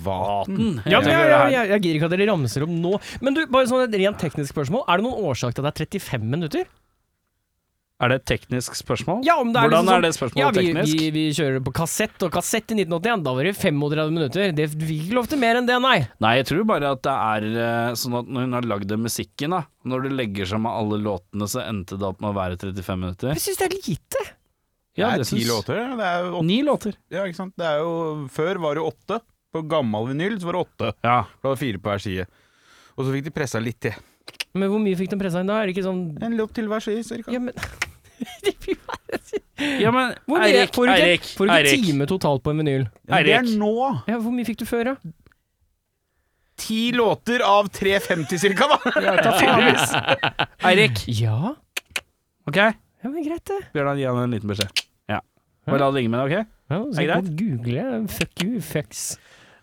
Speaker 1: privaten.
Speaker 3: Ja, men
Speaker 2: vi
Speaker 3: jeg,
Speaker 2: gjør det
Speaker 3: jeg,
Speaker 2: her.
Speaker 3: jeg, jeg gir ikke at dere ramser opp nå. Men du, bare sånn et rent teknisk spørsmål. Er det noen årsak til at det er 35 minutter?
Speaker 2: Er det et teknisk spørsmål?
Speaker 3: Ja, om det er
Speaker 2: Hvordan
Speaker 3: liksom sånn-
Speaker 2: er det spørsmålet
Speaker 3: ja, vi,
Speaker 2: teknisk?
Speaker 3: Vi, vi kjører det på kassett, og kassett i 1981, da var det 35 minutter. Det vi fikk ikke lov til mer enn det, nei.
Speaker 2: Nei, jeg tror bare at det er eh, sånn at når hun har lagd den musikken, da, når det legger sammen alle låtene, så endte det opp med å være 35 minutter.
Speaker 3: Jeg syns det er lite.
Speaker 1: Det
Speaker 2: Ja,
Speaker 1: er ti
Speaker 2: syns-
Speaker 1: låter. Det er, jo åtte,
Speaker 2: Ni låter.
Speaker 1: ja, ikke sant? Det er jo, før var det jo åtte. På gammel vinyl så var det åtte.
Speaker 2: Ja.
Speaker 1: Da var det fire på hver side. Og så fikk de pressa litt til.
Speaker 3: Men hvor mye fikk de pressa inn da? Er det ikke sånn
Speaker 1: En låt til hver side, cirka.
Speaker 3: Ja, men Det blir jo-
Speaker 2: ja, men
Speaker 3: Hvor mye-
Speaker 2: Eirik,
Speaker 3: får du ikke,
Speaker 2: Eirik,
Speaker 3: får du ikke
Speaker 2: Eirik.
Speaker 3: time totalt på en vinyl?
Speaker 1: Men det er
Speaker 2: Eirik.
Speaker 1: nå!
Speaker 3: Ja, hvor mye fikk du før, da?
Speaker 1: Ti låter av 350 cirka, da!
Speaker 2: Eirik,
Speaker 3: Ja,
Speaker 2: ok?
Speaker 3: ja men greit, det.
Speaker 2: Bjørnar, gi han en liten beskjed. Ja. Bare la det ligge med deg, ok?
Speaker 3: Ja, så
Speaker 2: Er det
Speaker 3: kan Google fuck you, fucks.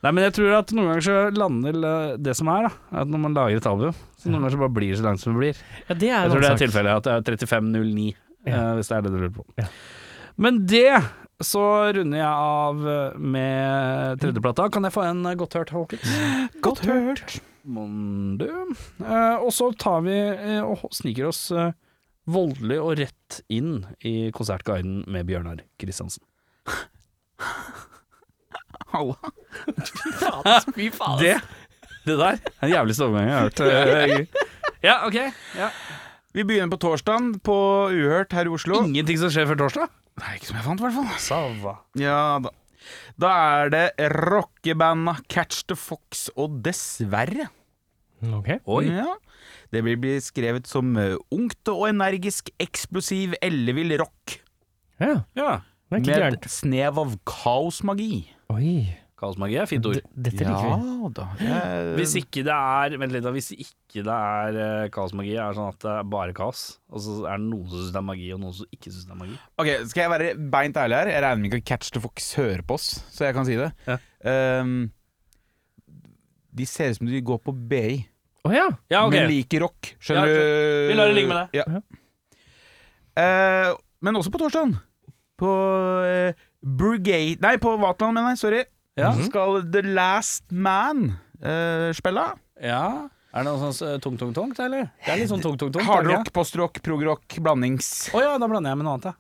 Speaker 2: Nei, men jeg tror at noen ganger så lander eh, det som er, da. At når man lager et album, så noen ganger så bare blir det så langt som det blir.
Speaker 3: Ja, det er
Speaker 2: Jeg tror det er
Speaker 3: en annen sak.
Speaker 2: tilfellet at det er 35.09,
Speaker 3: Ja.
Speaker 2: eh, hvis det er det du lurer på.
Speaker 3: Ja.
Speaker 2: Men det så runder jeg av eh, med tredjeplata. Kan jeg få en eh, godt hørt, folkens?
Speaker 1: Godt hørt.
Speaker 2: Mondu. Eh, og så tar vi eh, og sniker oss eh, voldelig og rett inn i konsertguiden med Bjørnar Kristiansen.
Speaker 1: Halla.
Speaker 3: Fy faen.
Speaker 2: Det, det der er den jævligste overgangen jeg har hørt. eh, Ja, ok. Ja.
Speaker 1: Vi begynner på torsdagen på Uhørt her i Oslo.
Speaker 2: Ingenting som skjer før torsdag?
Speaker 1: Nei, ikke som jeg fant, i hvert fall.
Speaker 2: Sava.
Speaker 1: Ja da. Da er det rockebanda Catch the Fox og Dessverre.
Speaker 3: Mm, Ok.
Speaker 2: Oi.
Speaker 1: Ja. Det vil bli skrevet som eh, ungt og energisk, eksplosiv, ellevill rock.
Speaker 3: Ja,
Speaker 2: Ja.
Speaker 3: det er ikke
Speaker 1: Med et
Speaker 3: gærent.
Speaker 1: snev av kaosmagi.
Speaker 3: Oi.
Speaker 2: Kaosmagi er fint ord.
Speaker 3: D- Dette liker
Speaker 1: Ja
Speaker 3: vi.
Speaker 1: da. Jeg-
Speaker 2: Hvis ikke det er Vent litt, da. Hvis ikke det er eh, kaosmagi, er det sånn at det er bare kaos, og så er det noen som syns det er magi, og noen som ikke syns det er magi.
Speaker 1: Ok, Skal jeg være beint ærlig her? Jeg regner med ikke at Catch the Fox hører på oss, så jeg kan si det.
Speaker 2: Ja.
Speaker 1: Ehm, de ser ut som de går på BI,
Speaker 3: Å ja.
Speaker 2: Ja,
Speaker 1: men liker rock.
Speaker 2: Ah,
Speaker 1: Skjønner
Speaker 2: Ja,
Speaker 1: du?
Speaker 2: Vi lar det ligge med
Speaker 1: Ja. Eh, men også på torsdagen. På eh, Brigade Nei, på Vatland, mener jeg. Sorry. Mm-hmm. Skal The Last Man eh, spille?
Speaker 2: ja. Er det noe sånn eh, tung, tung, tungt, eller? Det er litt sånn tung, tung, tungt. er det ikke?
Speaker 1: Hardrock, postrock, progrock, blandings.
Speaker 2: Å ja, da blander jeg med noe annet, jeg.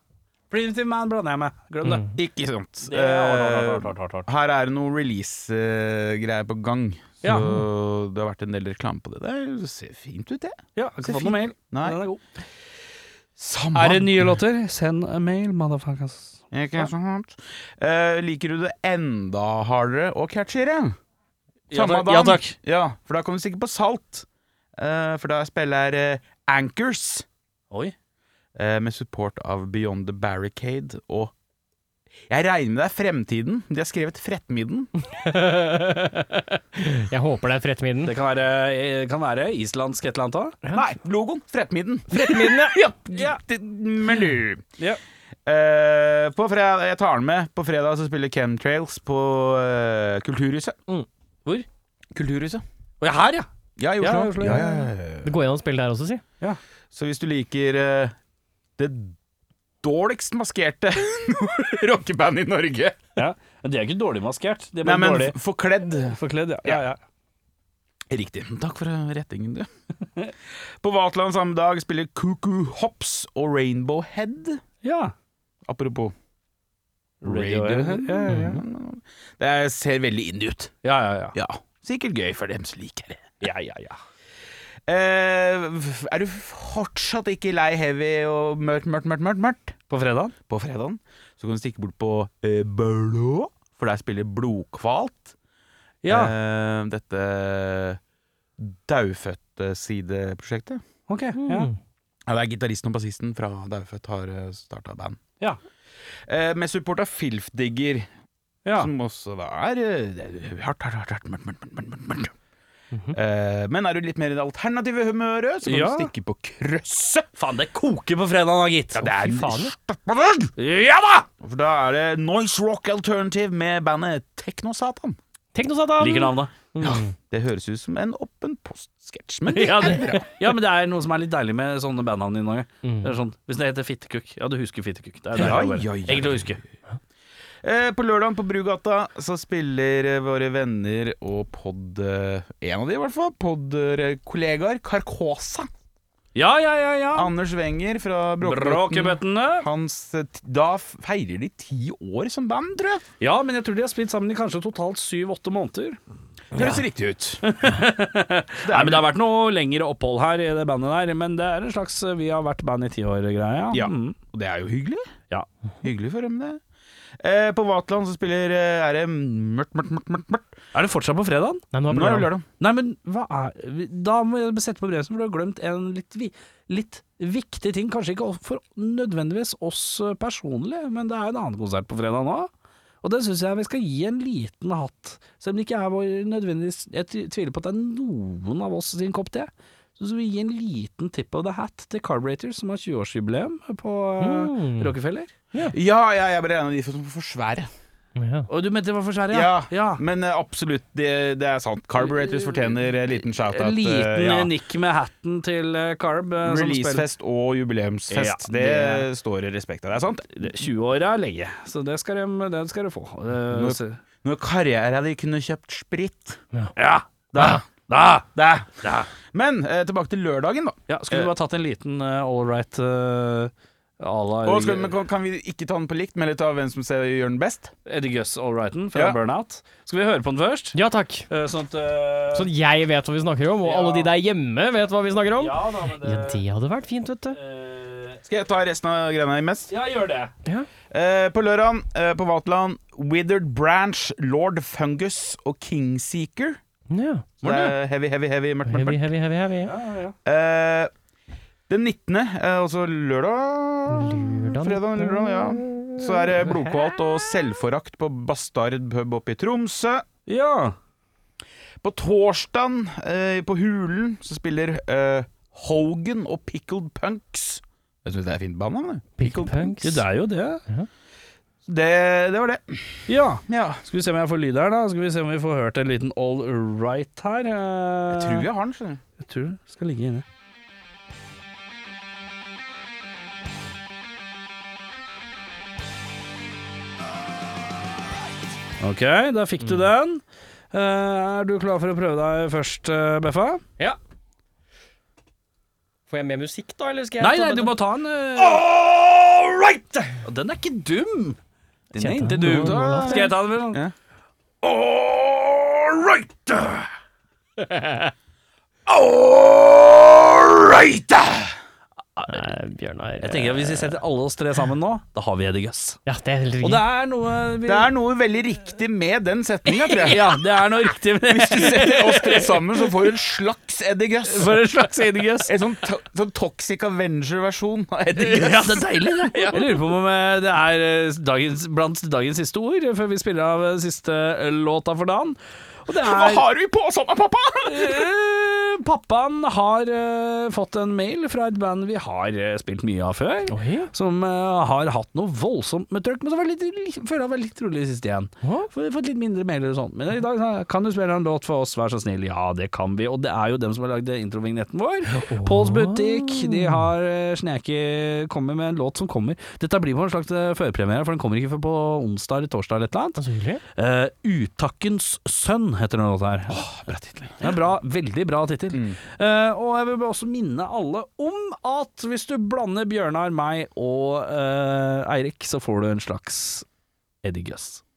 Speaker 2: Primitive Man blander jeg med. Glem det.
Speaker 3: Mm.
Speaker 1: Ikke sant.
Speaker 2: Det er hardt, hardt,
Speaker 1: Eh,
Speaker 2: hardt, hardt, hardt, hardt.
Speaker 1: Her er det noe release-greier på gang. Så
Speaker 2: Ja.
Speaker 1: det har vært en del reklame på det. Det ser fint ut, det.
Speaker 2: Ja, har
Speaker 1: så
Speaker 2: ikke fått
Speaker 1: fint.
Speaker 2: noe mail.
Speaker 1: Nei.
Speaker 2: Den er god.
Speaker 1: Samme
Speaker 2: det nye låter? Send en mail, motherfuckers. Sånn.
Speaker 1: Ikke sant. Eh, liker du det enda hardere og catchyere?
Speaker 2: Ja
Speaker 1: Samme
Speaker 2: takk.
Speaker 1: dagen.
Speaker 2: Ja, takk.
Speaker 1: Ja, for da kommer du sikkert på Salt. Eh, for da spiller jeg eh, Anchors
Speaker 2: Oi.
Speaker 1: eh, med support av Beyond the Barricade og Jeg regner med det er Fremtiden. De har skrevet Frettmidden.
Speaker 3: Jeg håper det er for ettermiddagen.
Speaker 2: Det kan være, eh, kan være islandsk et eller annet òg.
Speaker 1: Nei, logoen! Frettmidden.
Speaker 3: Frettmiddagen, ja.
Speaker 1: Ja, det- men du
Speaker 2: Ja.
Speaker 1: Eh, på fredag, Jeg tar den med. På fredag så spiller Chemtrails på eh, Kulturhuset.
Speaker 2: Mm. Hvor?
Speaker 1: Kulturhuset.
Speaker 2: Og jeg er her, ja.
Speaker 1: Ja, i Oslo.
Speaker 2: Ja, i Oslo, ja.
Speaker 3: Det går an å spille der også, si.
Speaker 1: Så hvis du liker eh, det dårligst maskerte rockebandet i Norge
Speaker 2: ja. Men de er ikke dårlig maskert. De er
Speaker 1: Nei,
Speaker 2: bare
Speaker 1: men
Speaker 2: dårlig
Speaker 1: f- forkledd.
Speaker 2: forkledd. Ja. Ja,
Speaker 1: Ja.
Speaker 2: ja.
Speaker 1: Riktig. Takk for eh, rettingen, du. på Vatland samme dag spiller Cuckoo Hops og Rainbow Head.
Speaker 2: ja.
Speaker 1: Apropos
Speaker 2: Radiohead. Ja, ja, ja.
Speaker 1: Mm. Det ser veldig indie ut.
Speaker 2: ja, ja, ja.
Speaker 1: Ja, sikkert gøy for dem som liker det.
Speaker 2: ja, ja, ja.
Speaker 1: Eh, er du fortsatt ikke lei heavy og mørkt, mørkt, mørkt, mørkt, mørkt
Speaker 2: På fredag?
Speaker 1: på fredagen, så kan du stikke bort på eh, Blå, for der spiller Blodkvalt. Eh, dette Daufødt-sideprosjektet.
Speaker 2: ok. Ja.
Speaker 3: Mm.
Speaker 1: Ja, det er gitaristen og bassisten fra Daufødt har starta band.
Speaker 2: Ja.
Speaker 1: Eh, med support av Filfdigger,
Speaker 2: ja.
Speaker 1: som også da er eh, det er hardt, hardt, hardt, hardt, mørkt, mørkt, mørkt, mørkt, mørkt. Eh, men er du litt mer i det alternative humøret, så kan
Speaker 2: Mhm. Ja.
Speaker 1: du stikke på krøsset.
Speaker 2: Faen, det koker på fredag da, gitt.
Speaker 1: Ja, det er
Speaker 3: Fy faen, ja.
Speaker 1: Stappedag!
Speaker 2: Ja da!
Speaker 1: For da er det Noise Rock Alternative med bandet Teknosatan.
Speaker 3: Teknosatan!
Speaker 2: Liker navnet.
Speaker 1: Det høres ut som en åpen post-sketsj, men det
Speaker 2: Ja,
Speaker 1: er
Speaker 2: det, ja, men det er noe som er litt deilig med sånne bandnavn i Norge.
Speaker 3: Mm.
Speaker 2: Det er sånn, hvis det heter Fittekukk, ja, du husker Fittekukk. Det er deilig
Speaker 1: Ja,
Speaker 2: å bare-
Speaker 1: ja, ja.
Speaker 2: Egentlig å huske.
Speaker 1: Eh, På lørdagen på Brugata så spiller eh, våre venner og pod... eh, En av de i hvert fall, pod-kollegaer Carcosa.
Speaker 2: Ja, ja, ja, ja.
Speaker 1: Anders Wenger fra Bråkebøtten.
Speaker 2: Bråkebøttene.
Speaker 1: Hans, eh, t- da f- feirer de ti år som band, tror jeg.
Speaker 2: Ja, men jeg tror de har spilt sammen i kanskje totalt syv-åtte måneder.
Speaker 1: Det høres riktig ut.
Speaker 2: Nei, men Det har vært noe lengre opphold her i det bandet der, men det er en slags eh, vi har vært band i ti år-greie.
Speaker 1: Ja,
Speaker 2: Mm.
Speaker 1: Og det er jo hyggelig.
Speaker 2: Ja.
Speaker 1: Hyggelig for dem, det. Eh, på Vatland så spiller eh, er det mørkt, mørkt, mørkt, mørkt. mørkt.
Speaker 2: Er det fortsatt på fredagen?
Speaker 3: Nei, nå er
Speaker 1: Nå er det
Speaker 3: det
Speaker 1: lørdag.
Speaker 2: Nei, men hva er Da må jeg sette på bremsen, for du har glemt en litt, vi- litt viktig ting. Kanskje ikke for nødvendigvis oss personlig, men det er en annen konsert på fredag nå. Og den syns jeg vi skal gi en liten hatt. Selv om det ikke er vår nødvendigvis Jeg tvi- tviler på at det er noen av oss sin kopp te. Så skal vi gi en liten tip of the hat til Carburetor, som har 20-årsjubileum på eh,
Speaker 3: Mm.
Speaker 2: Rockefeller.
Speaker 1: Ja, ja, jeg ble en av de som får for svære.
Speaker 3: Ja.
Speaker 2: Og du mente det var for særlig?
Speaker 1: Ja,
Speaker 2: ja.
Speaker 1: Men eh, absolutt, det, det er sant. Carburetors fortjener en liten shout-out.
Speaker 2: En liten
Speaker 1: eh, ja.
Speaker 2: eh, nikk med hatten til eh, Carb. eh, som spiller-
Speaker 1: Releasefest og jubileumsfest.
Speaker 2: Ja,
Speaker 1: det,
Speaker 2: det-
Speaker 1: står det respekt av. Det er sant.
Speaker 2: 20-åra er lenge, så det skal de, det skal de få. Eh,
Speaker 1: Nå-
Speaker 2: så-
Speaker 1: Når karrieren hadde kunne kjøpt sprit
Speaker 2: ja,
Speaker 1: Da,
Speaker 2: da!
Speaker 1: da.
Speaker 2: da.
Speaker 1: Men eh, tilbake til lørdagen, da.
Speaker 2: Ja, skulle du bare tatt en liten uh, all right uh, à la
Speaker 1: Og skal, men, kan- kan vi ikke ta den på likt, men heller ta hvem som ser, gjør den best?
Speaker 2: Eddie Guss all righten fra
Speaker 1: Ja.
Speaker 2: Burnout? Skal vi høre på den først?
Speaker 3: ja takk.
Speaker 2: Eh, sånn at eh,
Speaker 3: Sånn at jeg vet hva vi snakker om, og
Speaker 2: Ja.
Speaker 3: alle de der hjemme vet hva vi snakker om.
Speaker 2: Ja da, men det
Speaker 3: Ja, det hadde vært fint, vet du.
Speaker 2: eh,
Speaker 1: Skal jeg ta resten av greiene imens?
Speaker 2: Ja, gjør det.
Speaker 1: Eh, på lørdag, eh, på Vatland, Withered Branch, Lord Fungus og Kingseeker.
Speaker 3: Ja.
Speaker 1: Så det er heavy, heavy, heavy. Mørkt, mørkt,
Speaker 3: Heavy,
Speaker 1: mørkt.
Speaker 3: heavy, heavy, heavy.
Speaker 2: Ja, ja, ja.
Speaker 1: Eh, den 19., eh, altså lørdag
Speaker 3: Lørdag
Speaker 1: Fredag, lørdag, ja. Så er det blodkvalt og selvforakt på Bastard pub oppe i Tromsø.
Speaker 2: ja.
Speaker 1: På torsdagen eh, på Hulen så spiller eh, Hogan og Pickled Punks. Jeg syns det er fint banenavn. det.
Speaker 3: Pickle punks.
Speaker 2: Ja, Det er jo det.
Speaker 1: Det, det var det.
Speaker 2: Ja.
Speaker 1: Ja.
Speaker 2: Skal vi se om jeg får lyd her, da. Skal vi se om vi får hørt en liten all right her. eh.
Speaker 1: Jeg tror jeg har den, skjønner du.
Speaker 2: Jeg tror det skal ligge inne. Ok, da fikk du den. Eh, er du klar for å prøve deg først, eh, Beffa?
Speaker 3: Ja. Får jeg mer musikk, da, eller skal jeg
Speaker 2: Nei, nei, du må ta en eh,
Speaker 3: All right!
Speaker 2: Den er ikke dum! Den
Speaker 3: Kjente den.
Speaker 2: Da
Speaker 3: Nå- nå låter
Speaker 2: Skal jeg ta den? vel?
Speaker 1: Ja.
Speaker 2: All right!
Speaker 1: All right!
Speaker 3: Nei, Bjørnar
Speaker 2: Jeg tenker at Hvis vi setter alle oss tre sammen nå, da har vi Eddie Guss.
Speaker 3: Ja, det er helt
Speaker 2: Og det er noe vi
Speaker 1: Det er noe veldig riktig med den setninga, tror jeg.
Speaker 2: Ja, det er noe riktig med det.
Speaker 1: Setter oss tre sammen, så får du en slags Eddie Guss.
Speaker 2: For en slags Eddie Guss.
Speaker 1: En sånn, to sånn Toxic Avenger-versjon av Eddie Guss.
Speaker 2: Ja, det er deilig, det. Jeg lurer på om eh, det er eh, dagens, blant dagens siste ord eh, før vi spiller av eh, siste eh, låta for dagen. Og det
Speaker 1: Hva
Speaker 2: er
Speaker 1: har vi på sånn, pappa?
Speaker 2: eh, Pappaen har eh, fått en mail fra et band vi har eh, spilt mye av før.
Speaker 3: Oi, ja.
Speaker 2: Som eh, har hatt noe voldsomt med trøkk, men som var litt, litt, føler jeg var litt rolig sist igjen.
Speaker 3: Hå?
Speaker 2: F- Fått litt mindre mailer og sånt. Men i dag sa jeg, kan du spille en låt for oss, vær så snill. Ja, det kan vi. Og det er jo dem som har lagd introvignetten vår. Pauls Butikk. De har eh, Sneke kommer med en låt som kommer. Dette blir på en slags eh, førpremiere, for den kommer ikke før på onsdag eller torsdag eller et eller annet.
Speaker 3: Så hyggelig.
Speaker 2: Eh, Utakkens sønn heter denne låta her. bra tittel. Bra, veldig bra tittel. Eh, og jeg vil bare også minne alle om at hvis du blander Bjørnar, meg og eh, Eirik, så får du en slags Eddie Guss.